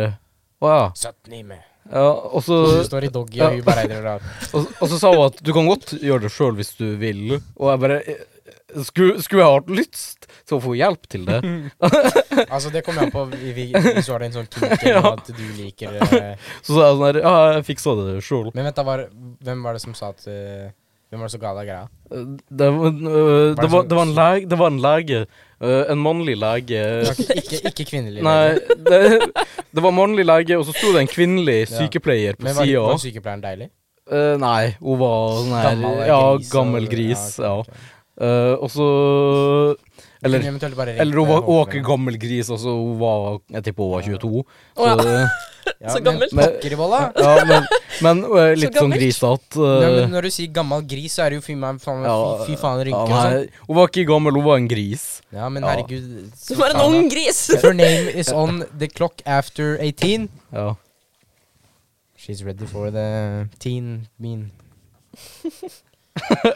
Speaker 1: Å ja.
Speaker 3: 17 i med.
Speaker 1: Ja, og så
Speaker 3: Du står i doggy, og
Speaker 1: Ja.
Speaker 3: hun bare eier og lar.
Speaker 1: Og, og så sa hun at du kan godt gjøre det sjøl hvis du vil. Og jeg bare eh, Skulle, skulle jeg hatt lyst til å få hjelp til det?
Speaker 3: Altså, det kommer an på vi- vi- hvis du har en sånn kink eller
Speaker 1: Ja.
Speaker 3: at du liker eh,
Speaker 1: Så sa jeg sånn her Ja, jeg fiksa det sjøl.
Speaker 3: Men vent, da, var, hvem var det som sa at eh, Hvem var det som ga deg greia?
Speaker 1: Det, var- øh, det, var- det var en lege, det var en, lege øh, en mannlig
Speaker 3: Det
Speaker 1: lege
Speaker 3: var ikke, ikke, ikke kvinnelig.
Speaker 1: Nei, det, det var en mannlig lege, og så sto det en kvinnelig
Speaker 3: Ja.
Speaker 1: sykepleier på
Speaker 3: Men var,
Speaker 1: sida.
Speaker 3: var sykepleieren deilig?
Speaker 1: nei, hun var sånn her
Speaker 3: Gammel
Speaker 1: Ja,
Speaker 3: gris,
Speaker 1: gammel
Speaker 3: og-
Speaker 1: gris.
Speaker 3: ja,
Speaker 1: Ja.
Speaker 3: ok, ok.
Speaker 1: Eh, og så
Speaker 3: Kunne
Speaker 1: Eller
Speaker 3: eventuelt bare ringt
Speaker 1: Eller hun
Speaker 3: eh,
Speaker 1: var hun var
Speaker 3: håpene.
Speaker 1: ikke gammel gris, altså. Hun var Jeg tipper hun var 22.
Speaker 2: Å ja.
Speaker 1: Så,
Speaker 3: Ja,
Speaker 2: Så
Speaker 3: men
Speaker 2: gammel.
Speaker 3: Pokker i bolla!
Speaker 1: ja, men, men øh, litt
Speaker 2: Så
Speaker 1: sånn
Speaker 2: gammelt.
Speaker 1: grisete.
Speaker 3: Nei,
Speaker 1: øh,
Speaker 3: men når du sier gammal gris, så er det jo fy meg faen,
Speaker 1: ja,
Speaker 3: fy, fy faen
Speaker 1: ja,
Speaker 3: rynker
Speaker 2: altså.
Speaker 3: og sånn.
Speaker 1: nei, hun var ikke gammel, hun var en gris.
Speaker 3: Ja, men
Speaker 1: Ja.
Speaker 3: herregud
Speaker 2: Du var en ung gris!
Speaker 3: If her name is on the clock after 18
Speaker 1: Ja.
Speaker 3: She's ready for the teen bean.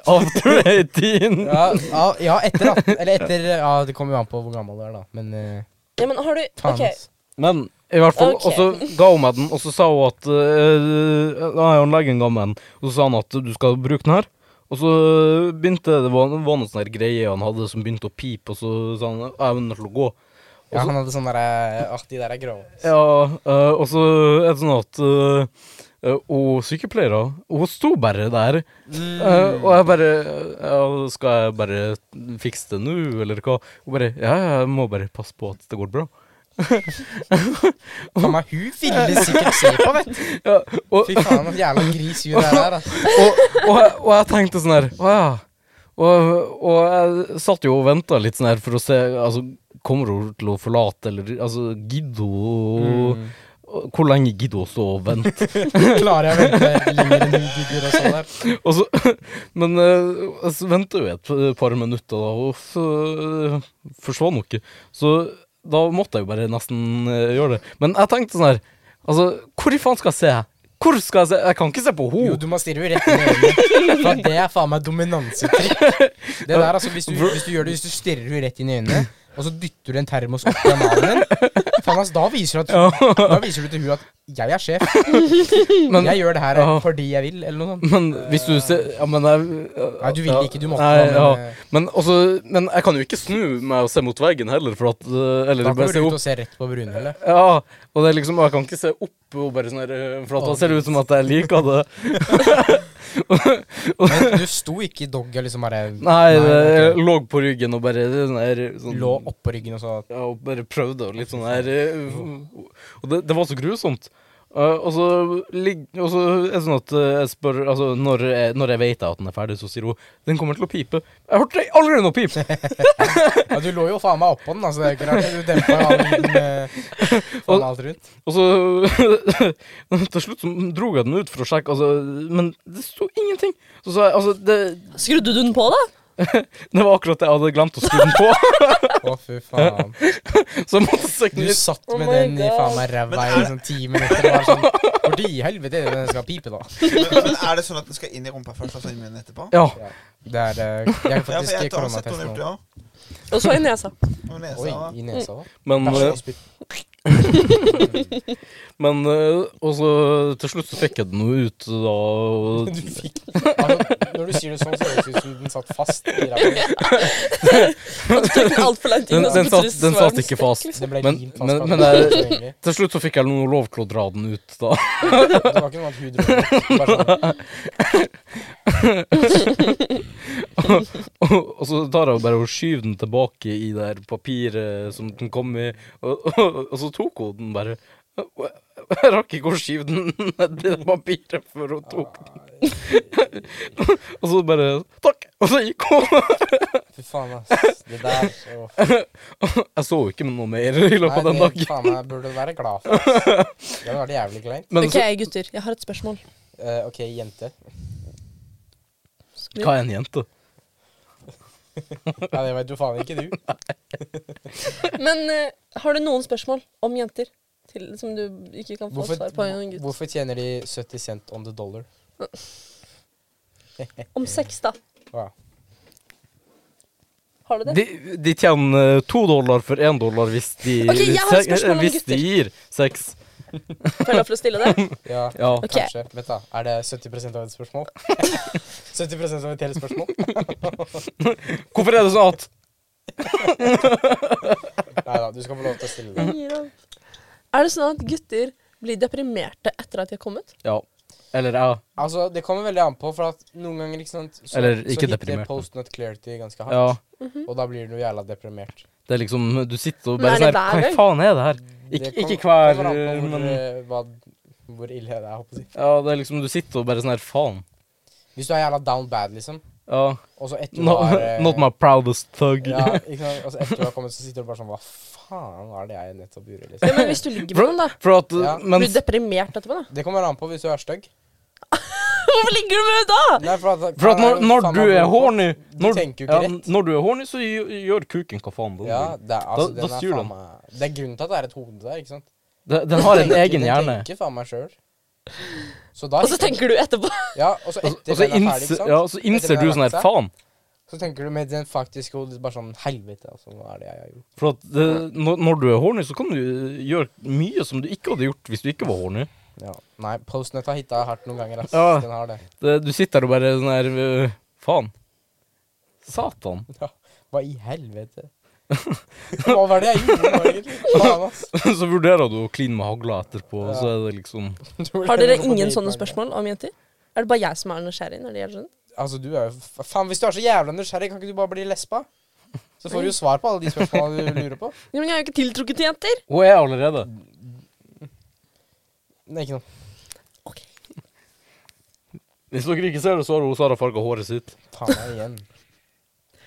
Speaker 1: After 18.
Speaker 3: Ja, ja, ja etter 18 Eller etter Ja, det kommer jo an på hvor gammel du er, da. Men eh,
Speaker 2: Ja, men har du
Speaker 3: faen,
Speaker 2: OK.
Speaker 3: ass.
Speaker 1: Men i hvert fall,
Speaker 2: Ok.
Speaker 1: og så ga hun meg den, og så sa hun at øh, Da har jo legen ga meg den, og så sa han at du skal bruke den her. Og så begynte det var, var noe sånn her greie han hadde som begynte å pipe, og så sa han jeg er nødt til å gå.
Speaker 3: Ja, han hadde sånn derre Åh, de der er grove.
Speaker 1: Ja, eh, og så er det sånn at eh, eh, Og sykepleiere, hun sto bare der. Eh, og jeg bare ja, Skal jeg bare fikse det nå, eller hva? Hun bare Ja, ja, jeg må bare passe på at det går bra.
Speaker 3: Faen meg, hun ville sikkert se på, vet du.
Speaker 1: Ja, og,
Speaker 3: Fy faen, så jævla gris hun er der, ass.
Speaker 1: og, og, jeg- og jeg tenkte sånn her Å ja. Og, og jeg satt jo og venta litt sånn her for å se Altså, kommer hun til å forlate, eller Altså, gidder hun og- Hvor lenge gidder hun å stå og vente?
Speaker 3: Klarer jeg å vente lenger enn hun gidder og sånn der?
Speaker 1: Og så, men eh, så venter vi et par minutter, da, og så eh, forsvant hun ikke. Så da måtte jeg jo bare nesten eh, gjøre det. Men jeg tenkte sånn her Altså, hvor i faen skal jeg se? Hvor skal jeg se? Jeg kan ikke se på
Speaker 3: Jo,
Speaker 1: henne.
Speaker 3: du må stirre jo rett inn i øynene. For det er faen meg dominansetrykk. Det der, altså, hvis du, hvis du gjør det, hvis du stirrer henne rett inn i øynene, og så dytter du en termos opp i analen din, faen ass, da viser du, at, da viser du til hun at 'jeg er sjef',
Speaker 1: Men,
Speaker 3: 'jeg gjør det her
Speaker 1: Ja.
Speaker 3: fordi jeg vil', eller noe sånt.
Speaker 1: men hvis du ser Ja, men jeg
Speaker 3: Nei, du ville ikke, du måtte.
Speaker 1: Nei,
Speaker 3: da,
Speaker 1: ja.
Speaker 3: men, eh,
Speaker 1: Men, også, men jeg kan jo ikke snu meg og se mot veggen heller, for at eh,
Speaker 3: eh,
Speaker 1: Eller
Speaker 3: da
Speaker 1: bare
Speaker 3: kommer
Speaker 1: se
Speaker 3: du
Speaker 1: opp.
Speaker 3: ut og ser rett på Brune, eller?
Speaker 1: Ja, og det er liksom, jeg kan ikke se opp og bare sånn her, øh, for at da ser det ut som at jeg liker det.
Speaker 3: Men du sto ikke i dogg og liksom bare
Speaker 1: Nei, det,
Speaker 3: ok.
Speaker 1: jeg lå på ryggen og bare sånn her, sånn,
Speaker 3: lå oppå ryggen og så
Speaker 1: Ja, og bare prøvde og litt sånn her øh, Og det, det var så grusomt. Eh, og så ligg- og så er det sånn at eh, jeg spør Altså, når jeg, når jeg vet at den er ferdig, så sier hun 'Den kommer til å pipe'. Jeg hørte aldri noe pip!
Speaker 3: Ja, du lå jo faen meg oppå den, altså. Det er jo ikke rart. Du dempa jo all lyden, eh, faen alt rundt.
Speaker 1: Og så Til slutt så dro jeg den ut for å sjekke, altså, men det sto ingenting. Så sa jeg Altså, det,
Speaker 2: Skrudde du den på, da?
Speaker 1: det var akkurat det jeg hadde glemt å skru den på.
Speaker 3: Å, fy faen.
Speaker 1: Så jeg måtte søke
Speaker 3: Du
Speaker 1: nytt.
Speaker 3: satt
Speaker 2: Oh
Speaker 3: med
Speaker 2: my
Speaker 3: den i
Speaker 2: God.
Speaker 3: faen meg ræva i sånn ti minutter. og Bare sånn, Hvor i helvete er det den skal pipe, da?
Speaker 4: Men, men er det sånn at den skal inn i rumpa først, og så inn i munnen etterpå?
Speaker 1: Ja.
Speaker 3: Det er eh, Jeg er
Speaker 4: Ja, for
Speaker 3: faktisk
Speaker 4: jeg
Speaker 3: ikke
Speaker 4: tar og setter
Speaker 3: koronatesten
Speaker 4: den ut,
Speaker 3: nå.
Speaker 4: ja.
Speaker 2: Og så i nesa.
Speaker 4: Og
Speaker 3: Oi,
Speaker 4: nesa.
Speaker 3: i nesa òg.
Speaker 1: Men, eh, men eh, Og så til slutt så fikk jeg den jo ut, da. og-
Speaker 3: Du fikk altså, Når du sier det sånn, så høres det ut som den satt fast i ræva.
Speaker 2: Og så tok den alt for lang tid.
Speaker 1: Den,
Speaker 2: og så
Speaker 1: den, satt,
Speaker 2: plutselig
Speaker 1: den
Speaker 2: så var
Speaker 1: satt ikke fast.
Speaker 3: Det ble
Speaker 1: Men-
Speaker 3: limt
Speaker 1: men-
Speaker 3: fast.
Speaker 1: men
Speaker 3: Men,
Speaker 1: det er-
Speaker 3: det,
Speaker 1: Til slutt så fikk jeg noe lov til å dra den ut, da.
Speaker 3: det var ikke noe at hun dro den. Bare sånn,
Speaker 1: Og, og så tar jeg jo bare og skyver den tilbake i det her papiret som den kom i, og, og, og så tok hun den bare. Og Jeg jeg rakk ikke å skyve den nedi det papiret før hun tok den. Og så bare Takk! Og så gikk hun.
Speaker 3: Fy faen, ass. Det der åh.
Speaker 1: Jeg så jo ikke noe mer i løpet av
Speaker 3: Nei,
Speaker 1: den
Speaker 3: det
Speaker 1: dagen.
Speaker 3: faen meg burde du være glad for. Ass. Det hadde vært jævlig kleint.
Speaker 1: Men
Speaker 2: OK,
Speaker 1: så,
Speaker 2: gutter. Jeg har et spørsmål.
Speaker 3: Eh, ok, jente.
Speaker 1: hva er en jente?
Speaker 3: Nei, det vet du faen ikke, du.
Speaker 2: Men eh, har du noen spørsmål om jenter til, som du ikke kan få
Speaker 3: Hvorfor,
Speaker 2: svar på? av en gutt?
Speaker 3: hvorfor tjener de 70 cent on the dollar?
Speaker 2: Om sex, da.
Speaker 3: Ja.
Speaker 2: Har du det?
Speaker 1: De, de tjener eh, to dollar for én dollar hvis de,
Speaker 2: Ok, jeg har et
Speaker 1: se- eh,
Speaker 2: spørsmål om
Speaker 1: hvis de
Speaker 2: gutter.
Speaker 1: gir sex.
Speaker 2: Får jeg lov til å stille det?
Speaker 3: Ja,
Speaker 1: Ja.
Speaker 2: Ok.
Speaker 3: kanskje. Vent da, Er det 70 av et spørsmål? 70 av et helt spørsmål?
Speaker 1: Hvorfor er det sånn at
Speaker 3: Nei da, du skal få lov til å stille det.
Speaker 2: Er det sånn at gutter blir deprimerte etter at de har kommet?
Speaker 1: Ja. Eller ja.
Speaker 3: Altså, Det kommer veldig an på, for at noen ganger ikke sant, så,
Speaker 1: Eller ikke
Speaker 3: så hitter
Speaker 1: deprimert.
Speaker 3: post-nut clarity ganske hardt.
Speaker 1: ja.
Speaker 3: Og da blir du jævla deprimert.
Speaker 1: Det er liksom Du sitter og
Speaker 2: Men
Speaker 1: bare
Speaker 2: er det
Speaker 1: sånn Hva
Speaker 2: hver gang?
Speaker 1: faen er det her? Ikke,
Speaker 3: Det kom-
Speaker 1: ikke hver,
Speaker 3: kommer an på hvor,
Speaker 1: men
Speaker 3: eh, hva, hvor ille det er, jeg håper jeg. å si.
Speaker 1: Ja, det er liksom Du sitter og bare sånn her Faen.
Speaker 3: Hvis du er jævla down bad, liksom,
Speaker 1: Ja.
Speaker 3: og så etter du
Speaker 1: No,
Speaker 3: har eh,
Speaker 1: not my proudest thug.
Speaker 3: ja, ikke sant? Altså, etter du har kommet, så sitter du bare sånn Hva faen var det jeg nettopp gjorde?
Speaker 2: Ja,
Speaker 3: liksom?
Speaker 2: men hvis du ligger med noen, da.
Speaker 1: For at
Speaker 3: Ja.
Speaker 1: Men
Speaker 2: Blir du deprimert etterpå, da?
Speaker 3: Det kommer an på hvis du er stygg.
Speaker 2: Hvorfor ligger du med henne da?
Speaker 3: Nei, for at,
Speaker 1: For at når, når
Speaker 3: faen,
Speaker 1: du
Speaker 3: han
Speaker 1: er
Speaker 3: holder på.
Speaker 1: horny
Speaker 3: Du
Speaker 1: når,
Speaker 3: tenker jo
Speaker 1: ja,
Speaker 3: ikke rett.
Speaker 1: når du er horny, så gjør, gjør kuken hva faen den
Speaker 3: Ja,
Speaker 1: vil.
Speaker 3: det er, altså,
Speaker 1: Da-
Speaker 3: den
Speaker 1: da
Speaker 3: er
Speaker 1: styrer
Speaker 3: faen
Speaker 1: den.
Speaker 3: meg Det er grunnen til at det er et hode der, ikke sant?
Speaker 1: Den, den har en
Speaker 3: Tenker-
Speaker 1: egen hjerne.
Speaker 3: Den tenker faen meg sjøl. Så da
Speaker 2: Og så tenker du etterpå.
Speaker 3: Ja, og så
Speaker 1: Og
Speaker 3: etter
Speaker 1: og så,
Speaker 3: den er ferdig,
Speaker 1: innser,
Speaker 3: ikke sant?
Speaker 1: ja, så
Speaker 3: Etter
Speaker 1: innser
Speaker 3: den
Speaker 1: du
Speaker 3: har
Speaker 1: sånn her
Speaker 3: lagt seg,
Speaker 1: Faen.
Speaker 3: Så tenker du med den faktiske hodet bare sånn Helvete, altså, hva er det jeg har gjort?
Speaker 1: For at det, når, når du er horny, så kan du gjøre mye som du ikke hadde gjort hvis du ikke var horny.
Speaker 3: Ja. Nei, postnett har hitta hardt noen ganger, ass.
Speaker 1: Ja.
Speaker 3: Den har det.
Speaker 1: Det, du sitter der og bare sånn her øh, Faen. Satan.
Speaker 3: Ja. Hva i helvete? Hva var det jeg gjorde nå, egentlig? Faen, ass.
Speaker 1: så vurderer du å kline med hagla etterpå, og så
Speaker 3: Ja.
Speaker 1: er det liksom
Speaker 2: Har dere ingen sånne spørsmål om jenter? Er det bare jeg som er nysgjerrig? når det gjelder sånn? sånt?
Speaker 3: Altså, du er jo fa- Faen, hvis du er så jævla nysgjerrig, kan ikke du bare bli lesba? Så får du jo svar på alle de spørsmålene du lurer på.
Speaker 2: Ja, men jeg er jo ikke tiltrukket til jenter.
Speaker 1: Hun er allerede.
Speaker 3: Nei, ikke noe.
Speaker 2: Ok.
Speaker 1: Hvis dere ikke ser det, så har hun Sara farga håret sitt.
Speaker 3: Faen meg igjen.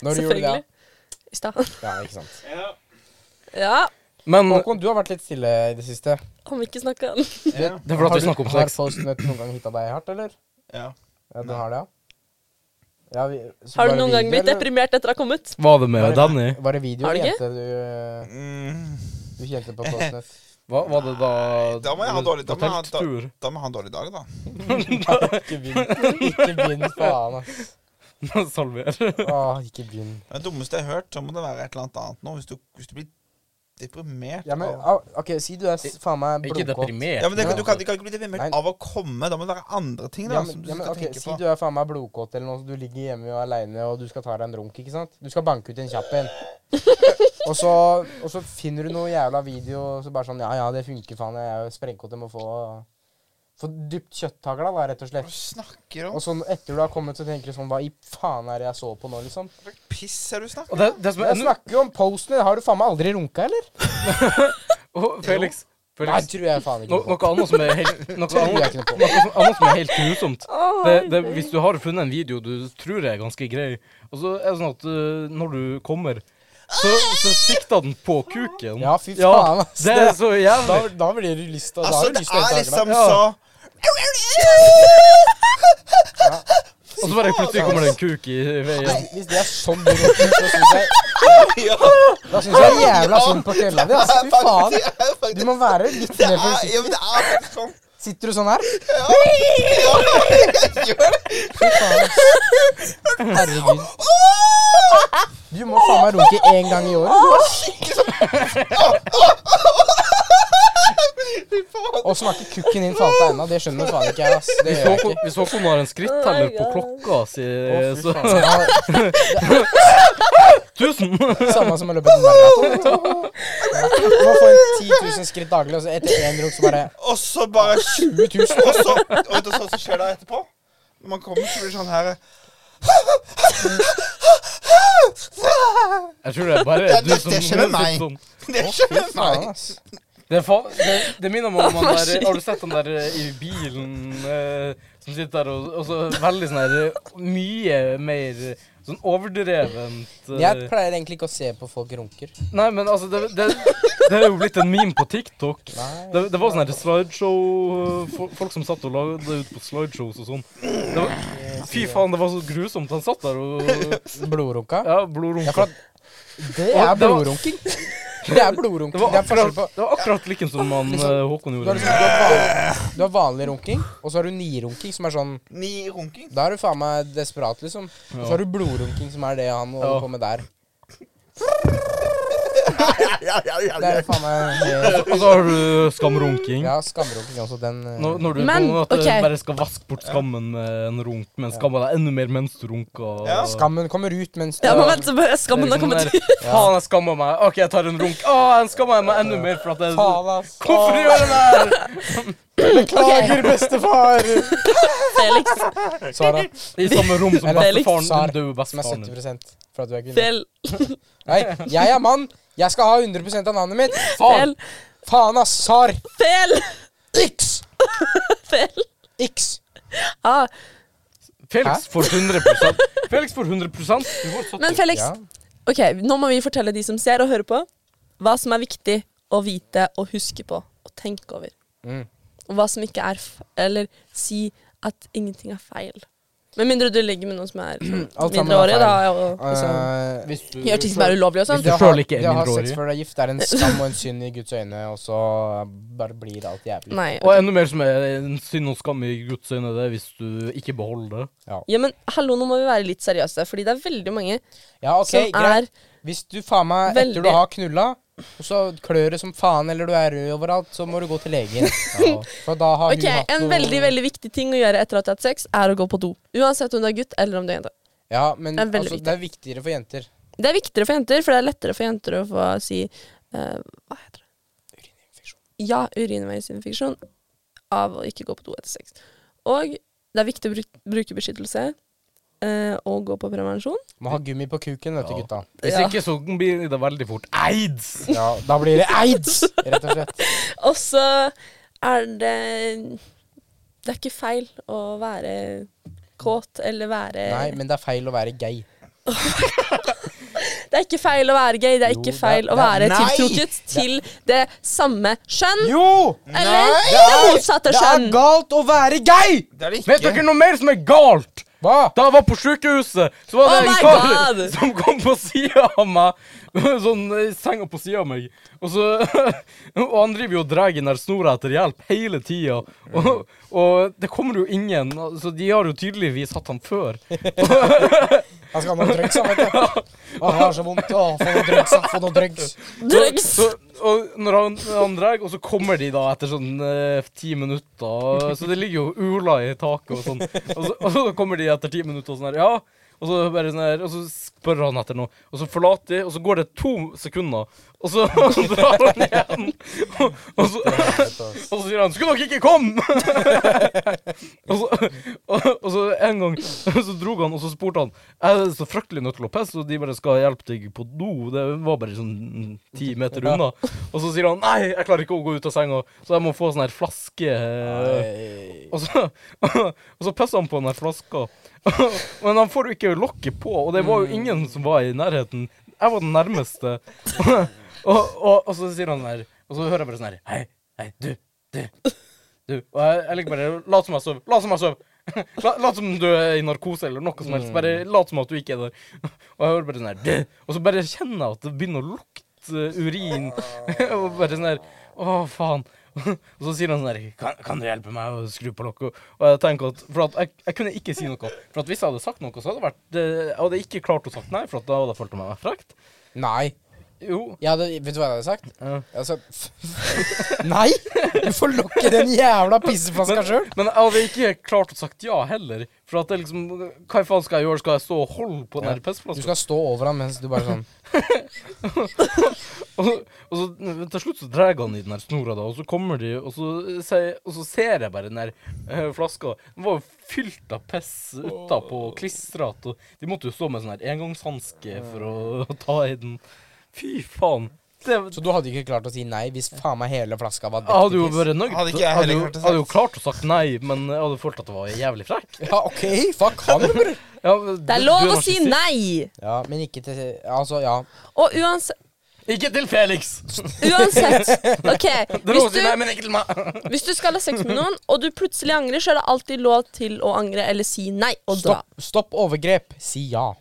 Speaker 3: Når du gjorde det?
Speaker 2: Selvfølgelig. I stad.
Speaker 3: Ja, ikke sant.
Speaker 2: Ja,
Speaker 1: Men
Speaker 3: Håkon, du har vært litt stille i det siste.
Speaker 2: om vi ikke snakka
Speaker 4: Ja.
Speaker 1: det er fordi
Speaker 3: Har
Speaker 1: vi
Speaker 3: du-
Speaker 1: snakker om
Speaker 3: Har
Speaker 1: sex.
Speaker 3: postnøtt noen gang hitta deg hardt, eller?
Speaker 4: ja.
Speaker 3: Ja, den har det, ja. ja vi, så
Speaker 2: Har
Speaker 3: var
Speaker 2: du
Speaker 3: det
Speaker 2: noen gang
Speaker 3: video,
Speaker 2: blitt
Speaker 3: eller?
Speaker 2: deprimert etter å ha kommet?
Speaker 1: Var det med
Speaker 3: Bare-
Speaker 1: Danny?
Speaker 3: Var det video
Speaker 2: Har du
Speaker 3: eller
Speaker 2: ikke?
Speaker 3: jente du, eh,
Speaker 4: Mm.
Speaker 3: du kjente på postnøtt?
Speaker 1: Hva, var det da
Speaker 4: Da må jeg ha dårlig- da må jeg ha da-
Speaker 1: telttur?
Speaker 4: Da må han ha en dårlig dag, da.
Speaker 3: ikke begynn. Ikke begynn, faen, ass.
Speaker 1: Salver.
Speaker 3: Åh, ikke begynn.
Speaker 4: Det dummeste jeg har hørt, så må det være et eller annet annet nå. Hvis du, hvis du blir deprimert
Speaker 3: Ja, men,
Speaker 4: av-
Speaker 3: au, ok, si du er s- faen meg
Speaker 1: Ikke
Speaker 3: blodkåt.
Speaker 1: deprimert.
Speaker 4: ja, men det,
Speaker 3: Ja.
Speaker 4: Du kan, du kan ikke bli deprimert
Speaker 3: Nei.
Speaker 4: av å komme. Da må det være andre ting da,
Speaker 3: Ja,
Speaker 4: som
Speaker 3: men,
Speaker 4: du
Speaker 3: ja, men,
Speaker 4: skal
Speaker 3: ok,
Speaker 4: tenke
Speaker 3: si
Speaker 4: på.
Speaker 3: du er faen meg blodkåt eller noe, så du ligger hjemme og aleine og du skal ta deg en runk, ikke sant? Du skal banke ut en kjapp en. og, så, og så finner du noe jævla video og så bare sånn Ja, ja, det funker, faen. Jeg er jo sprengkåt. Jeg må få, få dypt kjøtthagla, da, rett og
Speaker 4: Hva
Speaker 3: slett.
Speaker 4: snakker du
Speaker 3: Og
Speaker 4: om?
Speaker 3: så etter du har kommet, så tenker du sånn Hva i faen er det jeg så på nå, liksom?
Speaker 4: Hva slags piss er det du snakker
Speaker 1: Og det, det som er
Speaker 3: Jeg snakker jo om posten din. Har du faen meg aldri runka, eller?
Speaker 1: Å, Felix,
Speaker 3: Nei,
Speaker 1: Felix.
Speaker 3: tror jeg faen
Speaker 1: No,
Speaker 3: ikke på.
Speaker 1: noe annet som er helt Noe
Speaker 3: Tror
Speaker 1: annet,
Speaker 3: jeg ikke noe på.
Speaker 1: noe som- annet som er helt grusomt.
Speaker 2: Å,
Speaker 1: Det, det, hvis du har funnet en video du tror er ganske grei, og så er det sånn at øh, når du kommer, så, så sikter den på kuken.
Speaker 3: Ja, fy faen, ass.
Speaker 1: det er så
Speaker 3: Da,
Speaker 1: jævlig.
Speaker 3: da blir det lyst til å
Speaker 4: Altså, det er liksom
Speaker 1: Ja.
Speaker 4: så
Speaker 1: Og så bare plutselig kommer det en kuk i veien.
Speaker 3: Hvis det er sånn du runker, så syns jeg
Speaker 4: Ja,
Speaker 3: Da syns jeg jævla synd på kølla di. ass. Fy faen.
Speaker 4: det er
Speaker 3: Du
Speaker 4: faktisk
Speaker 3: må være litt
Speaker 4: det
Speaker 3: mer
Speaker 4: er,
Speaker 3: forsiktig.
Speaker 4: ja, men det er faktisk sånn.
Speaker 3: Sitter du sånn her?
Speaker 4: Jeg gjør det.
Speaker 3: Fy faen. ass. Herregud. Du må faen meg runke én gang i året.
Speaker 4: Fy faen.
Speaker 3: du. Og snakke kukken din falt deg ennå. Det skjønner du faen ikke jeg, ass. Det
Speaker 1: Hvis
Speaker 3: gjør jeg
Speaker 1: Håkon,
Speaker 3: ikke.
Speaker 1: hvis Håkon har en skritteller på
Speaker 2: Oh my God.
Speaker 1: klokka si,
Speaker 3: Å, fy
Speaker 1: så
Speaker 3: faen. Ja,
Speaker 1: Tusen!
Speaker 3: Samme som å løpe en maraton. vet du. Du må få en 10 000 skritt daglig, og så etter én runk så bare
Speaker 4: Og så bare
Speaker 3: 20 000.
Speaker 4: Og så, og vet du hva som skjer da etterpå? Når man kommer, så blir det sånn her
Speaker 1: Jeg tror det er bare
Speaker 4: Det-
Speaker 1: du
Speaker 4: det-
Speaker 1: som
Speaker 4: det skjer med meg.
Speaker 1: Sånn.
Speaker 4: Det skjer
Speaker 3: Fy
Speaker 4: med
Speaker 3: faen,
Speaker 4: meg.
Speaker 3: ass.
Speaker 1: Det, er fa det, det minner meg om han der Har du sett han der eh, i bilen eh, som sitter der og, og så veldig sånn her eh, Mye mer eh, sånn overdrevent eh,
Speaker 3: Jeg pleier egentlig ikke å se på folk runker.
Speaker 1: Nei, men altså, det, det, det er jo blitt en meme på TikTok.
Speaker 3: Nei.
Speaker 1: Det, det var sånn her slideshow eh, fol- Folk som satt og lagde ut på slideshows og sånn. Det var, fy faen, det var så grusomt. Han satt der og
Speaker 3: Blodrunka?
Speaker 1: Ja,
Speaker 3: Ja, for
Speaker 1: blodrunka.
Speaker 3: at det
Speaker 1: Og
Speaker 3: er
Speaker 1: det var-
Speaker 3: blodrunking. Det er
Speaker 1: Det
Speaker 3: blodrunking. Det
Speaker 1: var
Speaker 3: er forskjell
Speaker 1: akkurat,
Speaker 3: på
Speaker 1: det var akkurat liken som han, eh, Håkon
Speaker 3: du har,
Speaker 1: gjorde.
Speaker 3: liksom, du, har vanlig, du har vanlig runking, og så har du nirunking, som er sånn
Speaker 4: Ni runking.
Speaker 3: Da er du faen meg desperat, liksom. Og så har du blodrunking, som er det han holder
Speaker 1: Ja.
Speaker 3: på med der. Det er faen meg helt-
Speaker 1: Og så har du skamrunking.
Speaker 3: Ja, skamrunking også, den eh,
Speaker 1: Når, når du
Speaker 2: Men,
Speaker 1: på en måte
Speaker 2: ok.
Speaker 1: bare skal vaske bort skammen med en runk, men skamma deg enda mer mens du runker.
Speaker 4: Ja.
Speaker 3: eh, Skammen kommer ut mens
Speaker 2: Ja, men vent, så bare skammen
Speaker 3: liksom
Speaker 2: har kommet ut.
Speaker 1: Faen, jeg skammer meg. OK, jeg tar en runk. Å, jeg skammer meg enda mer for at jeg
Speaker 3: Faen, ass.
Speaker 1: Hvorfor gjør jeg det her?
Speaker 3: Beklager, bestefar!
Speaker 2: Felix,
Speaker 3: Sara,
Speaker 1: I samme rom som
Speaker 3: Eller-
Speaker 1: bestefaren.
Speaker 3: Sar,
Speaker 1: Du dør
Speaker 3: som er
Speaker 1: bestefaren din.
Speaker 3: 70 for at du er kvinne.
Speaker 2: fel,
Speaker 3: Nei, jeg er mann. Jeg skal ha 100 av navnet mitt.
Speaker 2: fel,
Speaker 3: Faen, faen ass. Sar.
Speaker 2: fel,
Speaker 3: X.
Speaker 2: fel.
Speaker 3: X.
Speaker 2: Ah.
Speaker 1: Felix får 100 Felix får 100 Du får 70
Speaker 2: Men Felix,
Speaker 3: Ja.
Speaker 2: ok, nå må vi fortelle de som ser og hører på, hva som er viktig å vite og huske på og tenke over.
Speaker 3: Mm.
Speaker 2: Og hva som ikke er f Eller si at ingenting er feil. Med mindre du ligger med noen som er sånn
Speaker 3: Alt sammen er
Speaker 2: mindreårige, da.
Speaker 3: feil.
Speaker 2: Og, og, liksom,
Speaker 3: Eh,
Speaker 1: Hvis du-
Speaker 2: gjør ting som er ulovlig og sånn.
Speaker 1: Hvis du
Speaker 3: det å
Speaker 1: selv
Speaker 3: ha-
Speaker 1: ikke er
Speaker 3: det å ha
Speaker 1: mindreårig.
Speaker 3: sex før du er gift, er en skam og en synd i Guds øyne, og så bare blir alt jævlig.
Speaker 2: Nei.
Speaker 1: Og enda mer som er en synd og skam i Guds øyne, det er hvis du ikke beholder det.
Speaker 2: Ja, men hallo, nå må vi være litt seriøse, fordi det er veldig mange
Speaker 3: Ja, ok,
Speaker 2: som
Speaker 3: greit.
Speaker 2: er
Speaker 3: Hvis du faen meg
Speaker 2: Veldig.
Speaker 3: etter du har knulla, og så klør det som faen, eller du er rød overalt, så må du gå til legen. Ja, for da har
Speaker 2: Ok,
Speaker 3: hun hatt
Speaker 2: En
Speaker 3: noe-
Speaker 2: veldig veldig viktig ting å gjøre etter at du har hatt sex, er å gå på do. Uansett om du er gutt eller om du er jente.
Speaker 3: Ja, men
Speaker 2: Det er veldig
Speaker 3: altså, det er viktigere for jenter.
Speaker 2: Det er viktigere for jenter, for det er lettere for jenter å få si eh, Hva heter det?
Speaker 3: Urininfeksjon.
Speaker 2: Ja, urinveisinfeksjon av å ikke gå på do etter sex. Og det er viktig å bruke, bruke beskyttelse eh, og gå på prevensjon.
Speaker 3: Må ha gummi på kuken, vet du,
Speaker 1: Ja.
Speaker 3: gutta.
Speaker 1: Hvis
Speaker 2: Ja.
Speaker 1: ikke så blir det veldig fort aids!
Speaker 3: Ja, da blir det aids, rett og slett.
Speaker 2: Og så er det Det er ikke feil å være kåt eller være
Speaker 3: Nei, men det er feil å være gay.
Speaker 2: Det er ikke feil å være gay, det er
Speaker 3: Jo,
Speaker 2: ikke
Speaker 3: det er-
Speaker 2: feil å
Speaker 3: det er-
Speaker 2: være
Speaker 3: Nei!
Speaker 2: tiltrukket til det samme kjønn.
Speaker 3: Jo!
Speaker 2: Eller
Speaker 3: Nei!
Speaker 2: det motsatte
Speaker 3: Det er
Speaker 2: kjønn.
Speaker 3: galt å være gay!
Speaker 4: Det er det
Speaker 1: Vet
Speaker 4: ikke.
Speaker 1: dere noe mer som er galt?
Speaker 3: Hva?
Speaker 1: Da jeg var på sykehuset, så var det
Speaker 2: Oh
Speaker 1: en
Speaker 2: my
Speaker 1: kar
Speaker 2: God!
Speaker 1: som kom på sida av meg. Sånn i senga på sida av meg. Og så Og han driver jo og drar den der snora etter hjelp hele tida. Og, og det kommer jo ingen, så de har jo tydeligvis hatt han før.
Speaker 3: Han skal ha noe drugs, han, vet du. Å, jeg har så vondt. Å, få noe drugs, da, få noe drugs.
Speaker 2: Drugs.
Speaker 1: Så, så, og når han, han drar, og så kommer de da etter sånn eh, ti minutter, så det ligger jo ula i taket og sånn. Og så, og så kommer de etter ti minutter og sånn her, ja. Og så bare sånn her, og så spør han etter noe, og så forlater de, og så går det to sekunder, og så drar han igjen. Og, og, så, og så sier han 'skulle dere ikke komme'? og, så, og, og så en gang så drog han, og så spurte han 'Jeg er så fryktelig nødt til å pisse, og de bare skal hjelpe deg på do'. Det var bare sånn ti meter unna. Og så sier han 'nei, jeg klarer ikke å gå ut av senga, så jeg må få sånn her flaske'. eh, Og så, og så pisser han på den der flaska, men han får jo ikke lokket på, og det var jo ingen som var i nærheten. Jeg var den nærmeste. Og, og, og så sier han der, og så hører jeg bare sånn her Hei, hei, du, du, du. Og jeg, jeg ligger bare Lat som jeg sover. Lat som jeg sover. La- Lat som du er i narkose eller noe som helst. Bare lat som at du ikke er der. Og jeg hører bare sånn her du. Og så bare kjenner jeg at det begynner å lukte eh, urin. Og bare sånn her Å, faen. Og så sier han sånn her kan, kan du hjelpe meg å skru på lokket? Og jeg tenker at For at jeg, jeg kunne ikke si noe. For at hvis jeg hadde sagt noe, så hadde det vært eh, Jeg hadde ikke klart å sagt nei, for at da hadde jeg følt meg frekt.
Speaker 3: Nei.
Speaker 1: Jo.
Speaker 3: Jeg hadde, vet du hva jeg hadde sagt?
Speaker 1: Ja.
Speaker 3: Altså f- Nei! Du får lukke den jævla pisseflaska sjøl.
Speaker 1: Men jeg hadde ikke klart å sagt ja heller. For at det liksom Hva faen skal jeg gjøre? Skal jeg stå og holde på den
Speaker 3: Ja.
Speaker 1: her
Speaker 3: Du
Speaker 1: pissflaska?
Speaker 3: skal stå over ham mens du bare sånn
Speaker 1: Og, og så n- til slutt så drar han i den her snora, da, og så kommer de, og så, se- og så ser jeg bare den her eh, flaska. Den var jo fylt av piss utapå og klistrete, og de måtte jo stå med sånn her engangshanske for å, ta i den. Fy faen. Det,
Speaker 3: Så du hadde ikke klart å si nei hvis faen meg hele flaska var
Speaker 1: jeg hadde jo
Speaker 3: piss?
Speaker 1: vært nøyd.
Speaker 4: Hadde ikke jeg
Speaker 1: Jeg hadde jo,
Speaker 4: heller klart å sagt.
Speaker 1: hadde jo klart å sagt nei, men jeg hadde følt at det var jævlig frekk.
Speaker 3: Ja, OK, fuck han, bror.
Speaker 1: Ja,
Speaker 2: Det er lov å si nei!
Speaker 3: Ja, men ikke til Altså, ja.
Speaker 2: Og uansett,
Speaker 1: Ikke til Felix!
Speaker 2: uansett OK.
Speaker 1: Det er lov å
Speaker 2: Hvis
Speaker 1: si nei,
Speaker 2: du,
Speaker 1: men ikke til meg.
Speaker 2: hvis du skal ha sex med noen, og du plutselig angrer, så er det alltid lov til å angre eller si nei og dra.
Speaker 3: Stopp, stopp overgrep. Si ja.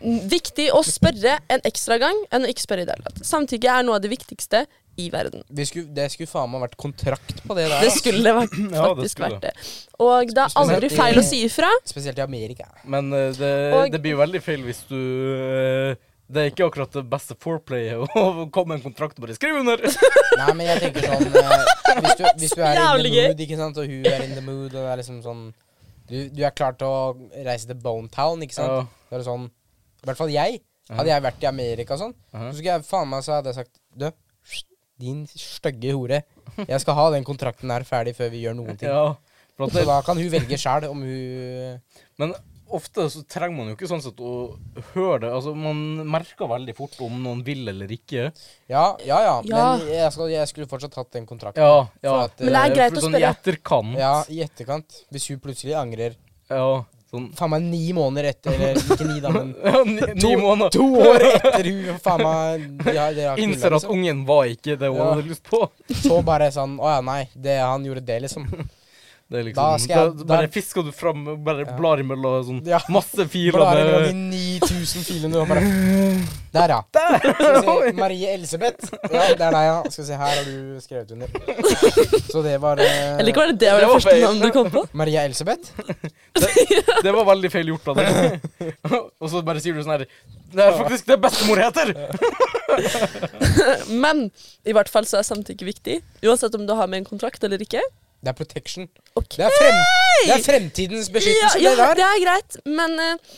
Speaker 2: Mm, Viktig å spørre en ekstra gang enn å ikke spørre i det hele tatt. Samtykke er noe av det viktigste i verden.
Speaker 3: Vi skulle, det skulle faen meg vært kontrakt på det der.
Speaker 2: Det
Speaker 3: ass.
Speaker 2: skulle vært,
Speaker 1: Ja, det
Speaker 2: faktisk
Speaker 1: skulle.
Speaker 2: vært det. Og det er aldri
Speaker 3: Spesielt i-
Speaker 2: feil å si ifra.
Speaker 3: Spesielt i Amerika.
Speaker 1: Men eh, det,
Speaker 2: Og-
Speaker 1: det blir jo veldig feil hvis du eh, Det er ikke akkurat det beste foreplayet å komme med en kontrakt og bare skrive under.
Speaker 3: Nei, men jeg tenker sånn eh, hvis, du, hvis du er in
Speaker 2: Jævlig
Speaker 3: the
Speaker 2: gøy.
Speaker 3: mood, ikke sant, og hun er in the mood, og det er liksom sånn Du, du er klar til å reise til Bone Town, ikke sant?
Speaker 1: Ja.
Speaker 3: Da er det sånn I hvert fall jeg. Hadde jeg vært i Amerika og sånn,
Speaker 1: Mhm.
Speaker 3: så skulle jeg faen meg så hadde jeg sagt Du, din stygge hore. Jeg skal ha den kontrakten her ferdig før vi gjør noen ting.
Speaker 1: Ja, for at
Speaker 3: Så
Speaker 1: det,
Speaker 3: da kan hun velge sjæl om hun
Speaker 1: men ofte så trenger man jo ikke sånn sett å høre det. Altså, man merker veldig fort om noen vil eller ikke.
Speaker 3: Ja, ja, ja.
Speaker 2: Ja.
Speaker 3: Men jeg, skal, jeg skulle fortsatt hatt den kontrakten.
Speaker 1: Ja, ja.
Speaker 3: For at, Men
Speaker 2: det er
Speaker 1: eh,
Speaker 2: greit
Speaker 1: for
Speaker 2: å
Speaker 1: sånn I
Speaker 2: spørre.
Speaker 1: etterkant.
Speaker 3: Ja, i etterkant. Hvis hun plutselig angrer
Speaker 1: Ja, sånn
Speaker 3: faen meg ni måneder etter Eller ikke ni, da, men
Speaker 1: ja, ni, ni måneder.
Speaker 3: To år etter hun faen meg ja, dere har ikke
Speaker 1: Innser at
Speaker 3: liksom.
Speaker 1: ungen var ikke det hun
Speaker 3: Ja.
Speaker 1: hadde lyst på.
Speaker 3: Så bare sånn Å ja, nei. Det, han gjorde det, liksom.
Speaker 1: Det er liksom,
Speaker 3: Da skal jeg-
Speaker 1: da,
Speaker 3: da-
Speaker 1: bare fisker du fram, bare
Speaker 3: Ja.
Speaker 1: blar imellom sånn
Speaker 3: Ja.
Speaker 1: masse filer
Speaker 3: Blar mellom de
Speaker 1: med
Speaker 3: 9000 filene og bare
Speaker 1: eh.
Speaker 3: Der, ja. Skal vi se. Marie Elsebeth. Ja, det er deg, ja. Skal vi se, her har du skrevet under. Så det var eh,
Speaker 2: Eller ikke var det det var
Speaker 1: Det
Speaker 2: det
Speaker 1: var
Speaker 2: første
Speaker 1: feil.
Speaker 2: navnet du kom på?
Speaker 3: Maria Elsebeth?
Speaker 1: Det var veldig feil gjort av deg. og så bare sier du sånn her Det er faktisk det bestemor heter!
Speaker 2: Men i hvert fall så er samtykke viktig. Uansett om du har med en kontrakt eller ikke.
Speaker 3: Det er protection.
Speaker 2: Ok.
Speaker 3: Det er, frem, det er fremtidens
Speaker 2: Ja,
Speaker 3: beskyttelse,
Speaker 2: ja,
Speaker 3: det der.
Speaker 2: det er greit, men eh,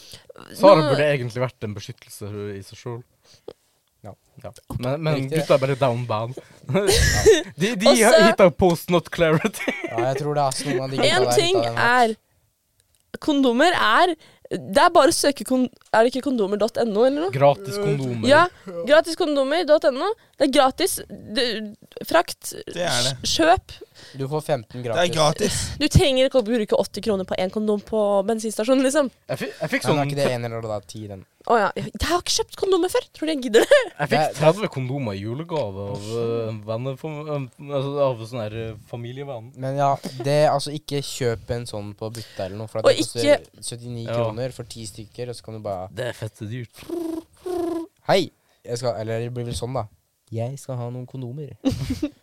Speaker 1: Sara
Speaker 2: nå-
Speaker 1: burde egentlig vært en beskyttelse i seg sjøl.
Speaker 3: Ja.
Speaker 1: Men, men
Speaker 3: Riktig.
Speaker 1: gutta er bare down bad. De, de
Speaker 2: Også-
Speaker 1: hitta post not clarity.
Speaker 3: Ja, jeg tror det er altså noen av de
Speaker 2: En
Speaker 3: gutta der
Speaker 2: ting
Speaker 3: ute av den.
Speaker 2: er Kondomer er Det er bare å søke kon Er det ikke kondomer.no eller noe?
Speaker 1: Gratis kondomer.
Speaker 2: Ja. Gratiskondomer.no. Det er gratis. Det- frakt.
Speaker 4: Det er det.
Speaker 2: sj- Kjøp.
Speaker 3: Du får 15
Speaker 4: Det er
Speaker 3: gratis.
Speaker 4: gratis.
Speaker 2: Du trenger ikke å bruke 80 kroner på én kondom på bensinstasjonen, liksom.
Speaker 1: Jeg, fi- jeg fikk
Speaker 3: Nei,
Speaker 1: sånn
Speaker 3: men er ikke det en eller annen ti, den?
Speaker 2: Å ja. Jeg har ikke kjøpt kondomer før. Tror du jeg gidder det?
Speaker 1: Jeg
Speaker 3: Det-
Speaker 1: fikk 30 kondomer i julegave av eh, en venner for, eh, altså, Av sånn her eh, familievenn.
Speaker 3: Men ja, det altså ikke kjøp en sånn på butta eller noe, for at
Speaker 2: Og
Speaker 3: det koster 79
Speaker 1: Ja.
Speaker 3: kroner for ti stykker, og så kan du bare
Speaker 1: Det er fette dyrt.
Speaker 3: Hei! Jeg skal Eller det blir vel sånn, da. Jeg skal ha noen kondomer.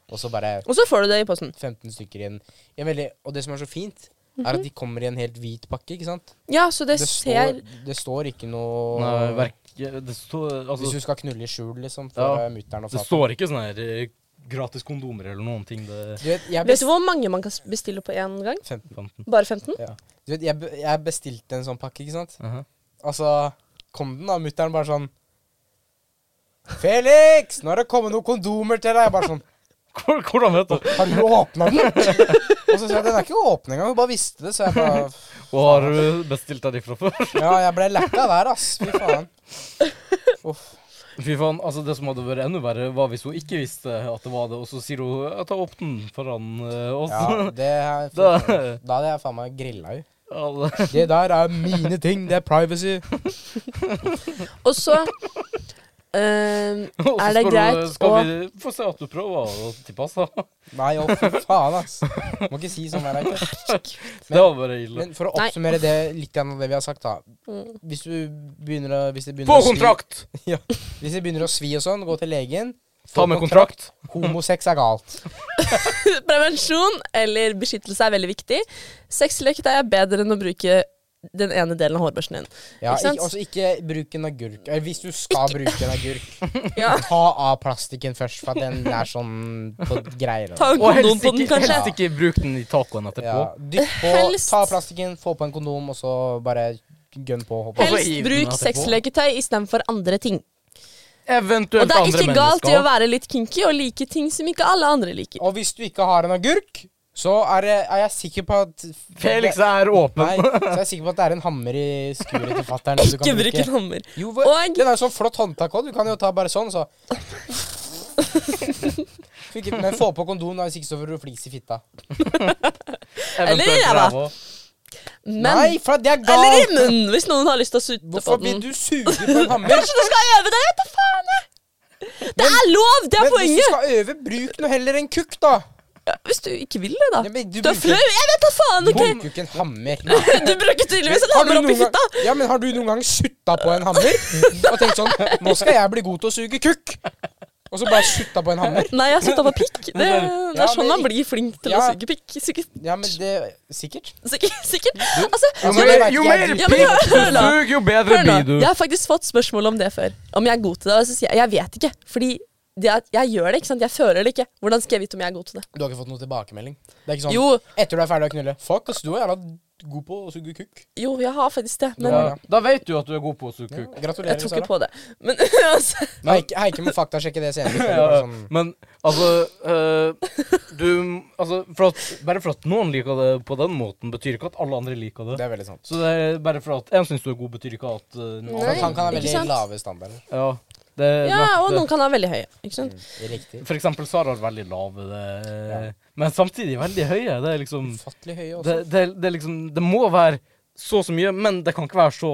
Speaker 3: og så bare
Speaker 2: Og så får du det i posten.
Speaker 3: 15 stykker igjen. Ja, veldig, og det som er så fint, er at de kommer i en helt hvit pakke, ikke sant?
Speaker 2: Ja, så Mhm. det, ser
Speaker 3: står, det står ikke noe
Speaker 1: Nei, verk, det, står,
Speaker 3: Hvis
Speaker 1: altså,
Speaker 3: du skal knulle i skjul, liksom,
Speaker 1: Ja.
Speaker 3: for ja. mutter'n og
Speaker 1: det
Speaker 3: fatter'n.
Speaker 1: står ikke sånn her eh, gratis kondomer eller noen ting. Det
Speaker 3: Du vet, jeg
Speaker 2: Vet du
Speaker 3: best...
Speaker 2: hvor mange man kan s- bestille på én gang?
Speaker 3: 15.
Speaker 2: Bare 15?
Speaker 3: Ja. Du vet, jeg, be- jeg bestilte en sånn pakke, ikke sant?
Speaker 1: Aha.
Speaker 3: Og så kom den, da. Mutter'n bare sånn Felix! Nå har det kommet noen kondomer til deg! Jeg bare sånn
Speaker 1: Hvor- Hvordan vet du?
Speaker 3: Har du åpna den? og så sa jeg den er ikke åpen engang. Hun bare visste det, så jeg bare
Speaker 1: Og har du bestilt deg de fra før?
Speaker 3: Ja, jeg ble letta der, ass. Fy faen. Uff.
Speaker 1: Fy faen, altså Det som hadde vært enda verre, var hvis hun ikke visste at det var det, og så sier hun at jeg åpner den foran eh, oss.
Speaker 3: Ja, det er fy
Speaker 1: Da-
Speaker 3: faen. Da hadde jeg faen meg grilla henne.
Speaker 1: Alle-
Speaker 3: Det der er mine ting. Det er privacy.
Speaker 2: Og så eh,
Speaker 1: Og så
Speaker 2: Er det
Speaker 1: spør hun,
Speaker 2: greit
Speaker 1: Skal
Speaker 2: å-
Speaker 1: vi få se at du prøver å altså. tilpasse?
Speaker 3: Nei, å, fy faen, ass. Må ikke si sånn der. ikke?
Speaker 1: Det var bare ille.
Speaker 3: Men for å
Speaker 2: Nei.
Speaker 3: oppsummere det litt grann av det vi har sagt, da.
Speaker 2: mm.
Speaker 3: Hvis du begynner å Hvis det begynner
Speaker 1: Få
Speaker 3: å svi-
Speaker 1: kontrakt!
Speaker 3: Hvis det begynner å svi og sånn, gå til legen.
Speaker 1: Ta med kontrakt.
Speaker 3: Homosex er galt.
Speaker 2: Prevensjon eller beskyttelse er veldig viktig. Sexleketøy er bedre enn å bruke den ene delen av hårbørsten din.
Speaker 3: Ja,
Speaker 2: Ikke sant?
Speaker 3: ikke, også ikke bruk en agurk. Eller Hvis du skal bruke en agurk,
Speaker 2: Ja.
Speaker 3: ta av plastikken først, for at den er sånn på greier.
Speaker 2: Ta en
Speaker 1: Og
Speaker 2: kondom
Speaker 1: helst
Speaker 2: på den,
Speaker 1: ikke,
Speaker 2: kanskje.
Speaker 1: helst ikke bruk den i tacoen etterpå.
Speaker 3: Ja, dytt på,
Speaker 2: Helst.
Speaker 3: ta av plastikken, få på en kondom, og så bare gønn på. Hopp.
Speaker 1: Hel- Og
Speaker 3: av.
Speaker 1: så
Speaker 2: Helst
Speaker 1: hiv den
Speaker 2: bruk
Speaker 1: etterpå.
Speaker 2: sexleketøy istedenfor andre ting. Og
Speaker 1: Eventuelt
Speaker 2: det er
Speaker 1: andre
Speaker 2: ikke galt i å
Speaker 1: mennesker.
Speaker 2: være litt kinky og like ting som ikke alle andre liker.
Speaker 3: Og hvis du ikke har en agurk, så er, det, er jeg sikker på at
Speaker 1: Felix er
Speaker 3: Nei,
Speaker 1: åpen.
Speaker 3: så er jeg sikker på at det er en hammer i skuret til fatter'n. som du
Speaker 2: Ikke
Speaker 3: kan
Speaker 2: bruk en hammer.
Speaker 3: Jo, hva-
Speaker 2: Og-
Speaker 3: Den er jo sånn flott håndtak òg. Du kan jo ta bare sånn, så. Fikk- Men få på kondom, da, hvis ikke så får du flis i fitta.
Speaker 1: Eventuelt
Speaker 2: Eller ræva.
Speaker 1: ræva.
Speaker 2: Men
Speaker 3: Nei, for det er
Speaker 2: Eller i
Speaker 3: galt!
Speaker 2: munnen, hvis noen har lyst til å sutte på
Speaker 3: Hvorfor vil
Speaker 2: den.
Speaker 3: du suge på en hammer?
Speaker 2: Kanskje du skal øve deg? Vet da faen, jeg! Det er lov! Det er
Speaker 3: Men hvis du
Speaker 2: poenget.
Speaker 3: skal øve, bruk nå heller en kukk, da.
Speaker 2: Ja, Hvis du ikke vil det, da.
Speaker 3: Ja, men du
Speaker 2: Du er
Speaker 3: bruker-
Speaker 2: flau. Jeg vet da faen,
Speaker 3: Du
Speaker 2: OK?
Speaker 3: bruker jo ikke en hammer.
Speaker 2: Du bruker tydeligvis en
Speaker 3: Har du
Speaker 2: hammer oppi
Speaker 3: noen gang-
Speaker 2: fitta.
Speaker 3: Ja, men har du noen gang sutta på en hammer og tenkt sånn Nå skal jeg bli god til å suge kukk. Og så bare sutta på en hammer.
Speaker 2: Nei, jeg slutta på pikk. Det, det
Speaker 3: Ja,
Speaker 2: er sånn
Speaker 3: men-
Speaker 2: man blir flink til å
Speaker 3: Ja.
Speaker 2: suge pikk. Sikkert.
Speaker 3: Ja, men det Sikkert.
Speaker 2: sikkert, sikkert. Altså,
Speaker 3: Ja,
Speaker 1: Jo
Speaker 2: jeg-
Speaker 3: men det
Speaker 1: mer,
Speaker 3: vet
Speaker 1: jo
Speaker 3: jeg.
Speaker 1: mer
Speaker 2: Ja, men
Speaker 1: pikk du
Speaker 2: hør da.
Speaker 1: suger, jo bedre
Speaker 2: Hør nå,
Speaker 1: blir du.
Speaker 2: Jeg har faktisk fått spørsmål om det før. Om jeg er god til det. Og så sier jeg jeg vet ikke. Fordi det at jeg gjør det, ikke sant. Jeg føler det ikke. Hvordan skal jeg vite om jeg er god til det?
Speaker 3: Du har ikke fått noen tilbakemelding? Det er ikke sånn
Speaker 2: Jo,
Speaker 3: Etter du er ferdig å knulle Fuck, ass, du er jævla god på å suge kukk.
Speaker 2: jo, jeg har faktisk det. Men
Speaker 3: Ja.
Speaker 1: Da vet du at du er god på å suge
Speaker 3: Ja,
Speaker 1: kuk.
Speaker 3: gratulerer,
Speaker 2: jeg tror ikke
Speaker 3: Sara.
Speaker 2: på det. Men altså,
Speaker 3: Heike, Heike må faktasjekke det senere. Det er
Speaker 1: Ja,
Speaker 3: bare sånn,
Speaker 1: men altså eh, Du Altså, for at, bare for at noen liker det på den måten, betyr ikke at alle andre liker
Speaker 3: det
Speaker 1: det.
Speaker 3: er veldig sant.
Speaker 1: Så det er bare for at én syns du er god, betyr ikke at eh, noen
Speaker 2: Nei,
Speaker 3: Så Altså, han kan ha
Speaker 2: ikke
Speaker 3: veldig
Speaker 2: sant?
Speaker 3: lave standarder.
Speaker 1: Ja, det,
Speaker 2: ja, og
Speaker 1: det-
Speaker 2: noen kan ha veldig høye. Ikke sant?
Speaker 3: Sånn. Riktig.
Speaker 1: For eksempel Sara har veldig lave, det, men samtidig veldig høye. Det er liksom
Speaker 3: Ufattelig høye også.
Speaker 1: det, det, det er liksom Det må være så og så mye, men det kan ikke være så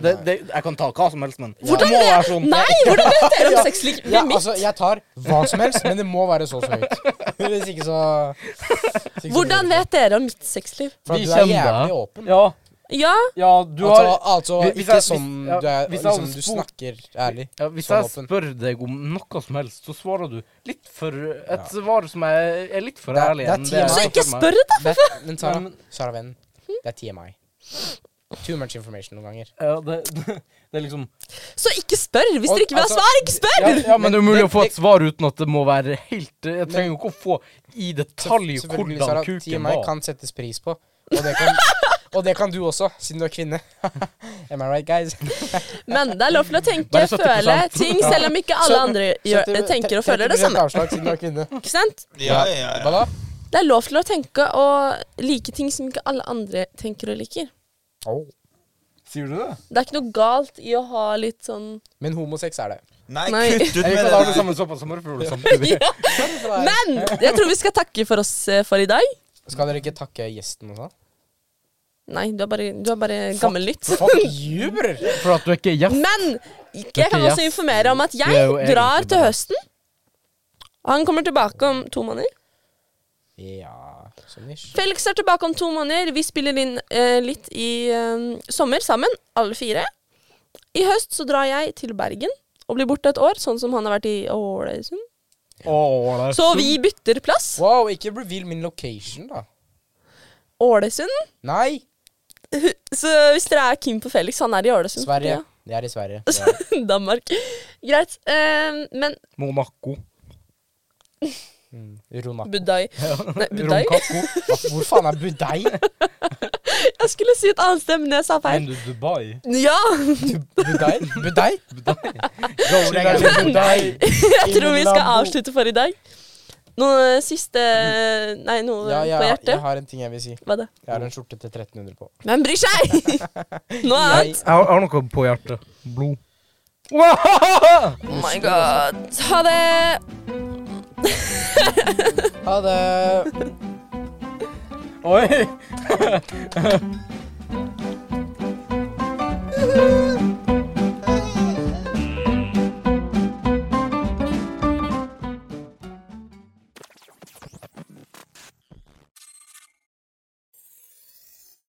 Speaker 1: det, det, Jeg kan ta hva som helst, men det
Speaker 2: Hvordan
Speaker 1: må være sånn.
Speaker 2: Nei, hvordan vet dere om sex ligger
Speaker 3: Ja,
Speaker 2: mitt?
Speaker 3: altså, jeg tar hva som helst, men det må være så så høyt. Hvis ikke så hvis ikke sånn. så-
Speaker 2: Hvordan vet dere om mitt sexliv?
Speaker 3: For at
Speaker 1: Vi
Speaker 3: du er
Speaker 1: kjenner deg.
Speaker 3: jævlig åpen.
Speaker 1: Ja,
Speaker 2: Ja,
Speaker 1: ja, du
Speaker 3: altså,
Speaker 1: har
Speaker 3: altså
Speaker 1: Hvis- hvis
Speaker 3: ikke
Speaker 1: jeg-
Speaker 3: sånn
Speaker 1: hvis- ja,
Speaker 3: du er
Speaker 1: hvis jeg
Speaker 3: liksom,
Speaker 1: hadde
Speaker 3: Du
Speaker 1: spurt-
Speaker 3: snakker ærlig.
Speaker 1: ja, Hvis
Speaker 3: sånn
Speaker 1: jeg
Speaker 3: åpen.
Speaker 1: spør deg om noe som helst, så svarer du litt for et svar som er, er litt for
Speaker 3: Det er-
Speaker 1: ærlig.
Speaker 3: det er
Speaker 1: enn
Speaker 3: ti meg.
Speaker 2: så
Speaker 1: jeg
Speaker 2: ikke
Speaker 1: for meg.
Speaker 2: spør, da!
Speaker 3: Det, men Sara,
Speaker 1: Ja, men-
Speaker 3: Sara vennen, det er TMI. Too much information noen ganger.
Speaker 1: Ja, det, det er liksom
Speaker 2: Så ikke spør! Hvis
Speaker 3: Og-
Speaker 2: dere ikke vil ha
Speaker 3: altså-
Speaker 2: svar, ikke spør!
Speaker 1: Ja, ja, men det er umulig
Speaker 3: det-
Speaker 1: å få
Speaker 3: det-
Speaker 1: et svar uten at det må være helt Jeg trenger jo ikke å få i detalj
Speaker 3: Selvfølgelig,
Speaker 1: hvordan
Speaker 3: Sara,
Speaker 1: kuken
Speaker 3: TMI
Speaker 1: var.
Speaker 3: kan settes pris på. Og det kan, og det kan du også, siden du er kvinne. Am I right, guys?
Speaker 2: Men det er lov til å tenke,
Speaker 1: Bare 70%.
Speaker 2: føle ting, selv om ikke alle andre gjør, tenker og føler det samme.
Speaker 3: avslag siden du er kvinne.
Speaker 2: Ikke sant?
Speaker 4: Ja, ja,
Speaker 3: Hva
Speaker 4: ja.
Speaker 3: da?
Speaker 2: Det er lov til å tenke og like ting som ikke alle andre tenker og liker.
Speaker 1: Sier du det?
Speaker 2: Det er ikke noe galt i å ha litt sånn
Speaker 3: Men homosex er det.
Speaker 4: Nei,
Speaker 2: Nei.
Speaker 4: kutt ut
Speaker 1: Jeg
Speaker 4: med
Speaker 1: liker
Speaker 4: det
Speaker 1: at alle
Speaker 4: der.
Speaker 1: sammen så på sommerfugler samtidig.
Speaker 2: Men jeg tror vi skal takke for oss eh, for i dag.
Speaker 3: Skal dere ikke takke gjesten sånn? også?
Speaker 2: Nei, du er bare, du er bare gammelnytt.
Speaker 3: Fuck you, bror!
Speaker 1: For at du er ikke er gjest.
Speaker 2: Men jeg kan også informere om at
Speaker 1: Du er jo
Speaker 2: jeg
Speaker 1: egentlig
Speaker 2: drar til
Speaker 1: bare-
Speaker 2: høsten. Han kommer tilbake om to måneder.
Speaker 3: Ja, sånn ish.
Speaker 2: Felix er tilbake om to måneder. Vi spiller inn eh, litt i eh, sommer sammen, alle fire. I høst så drar jeg til Bergen og blir borte et år, sånn som han har vært i Ålesund.
Speaker 1: Åh, det er
Speaker 2: Så
Speaker 1: sunt.
Speaker 2: vi bytter plass.
Speaker 3: Wow, ikke reveal min location, da.
Speaker 2: Ålesund.
Speaker 3: Nei!
Speaker 2: Så hvis dere er keen på Felix, han er i Ålesund.
Speaker 3: Sverige.
Speaker 2: Ja.
Speaker 3: Det er i Sverige. Det er-
Speaker 2: Danmark. Greit. Eh, men
Speaker 1: Monaco.
Speaker 3: Mm, Rona.
Speaker 2: Budai Nei, Budai?
Speaker 1: Romkakko.
Speaker 3: Hva- Hvor faen er Budei?
Speaker 2: Jeg skulle si et annet sted, men jeg sa feil.
Speaker 1: Men du, Dubai.
Speaker 2: Ja!
Speaker 3: Budei? Budei?
Speaker 2: Jeg tror vi skal avslutte for i dag. Noe siste Nei, noe
Speaker 3: Mm. Ja,
Speaker 2: på
Speaker 3: jeg, jeg
Speaker 2: hjertet?
Speaker 3: har en ting jeg vil si.
Speaker 2: Hva da?
Speaker 3: Jeg har en skjorte til 1300 på.
Speaker 2: Hvem bryr seg? Noe
Speaker 3: Jeg,
Speaker 2: annet?
Speaker 1: Jeg har, jeg har noe på hjertet. Blod. Wow!
Speaker 2: Oh my god. Ha det!
Speaker 3: ha det!
Speaker 1: Oi!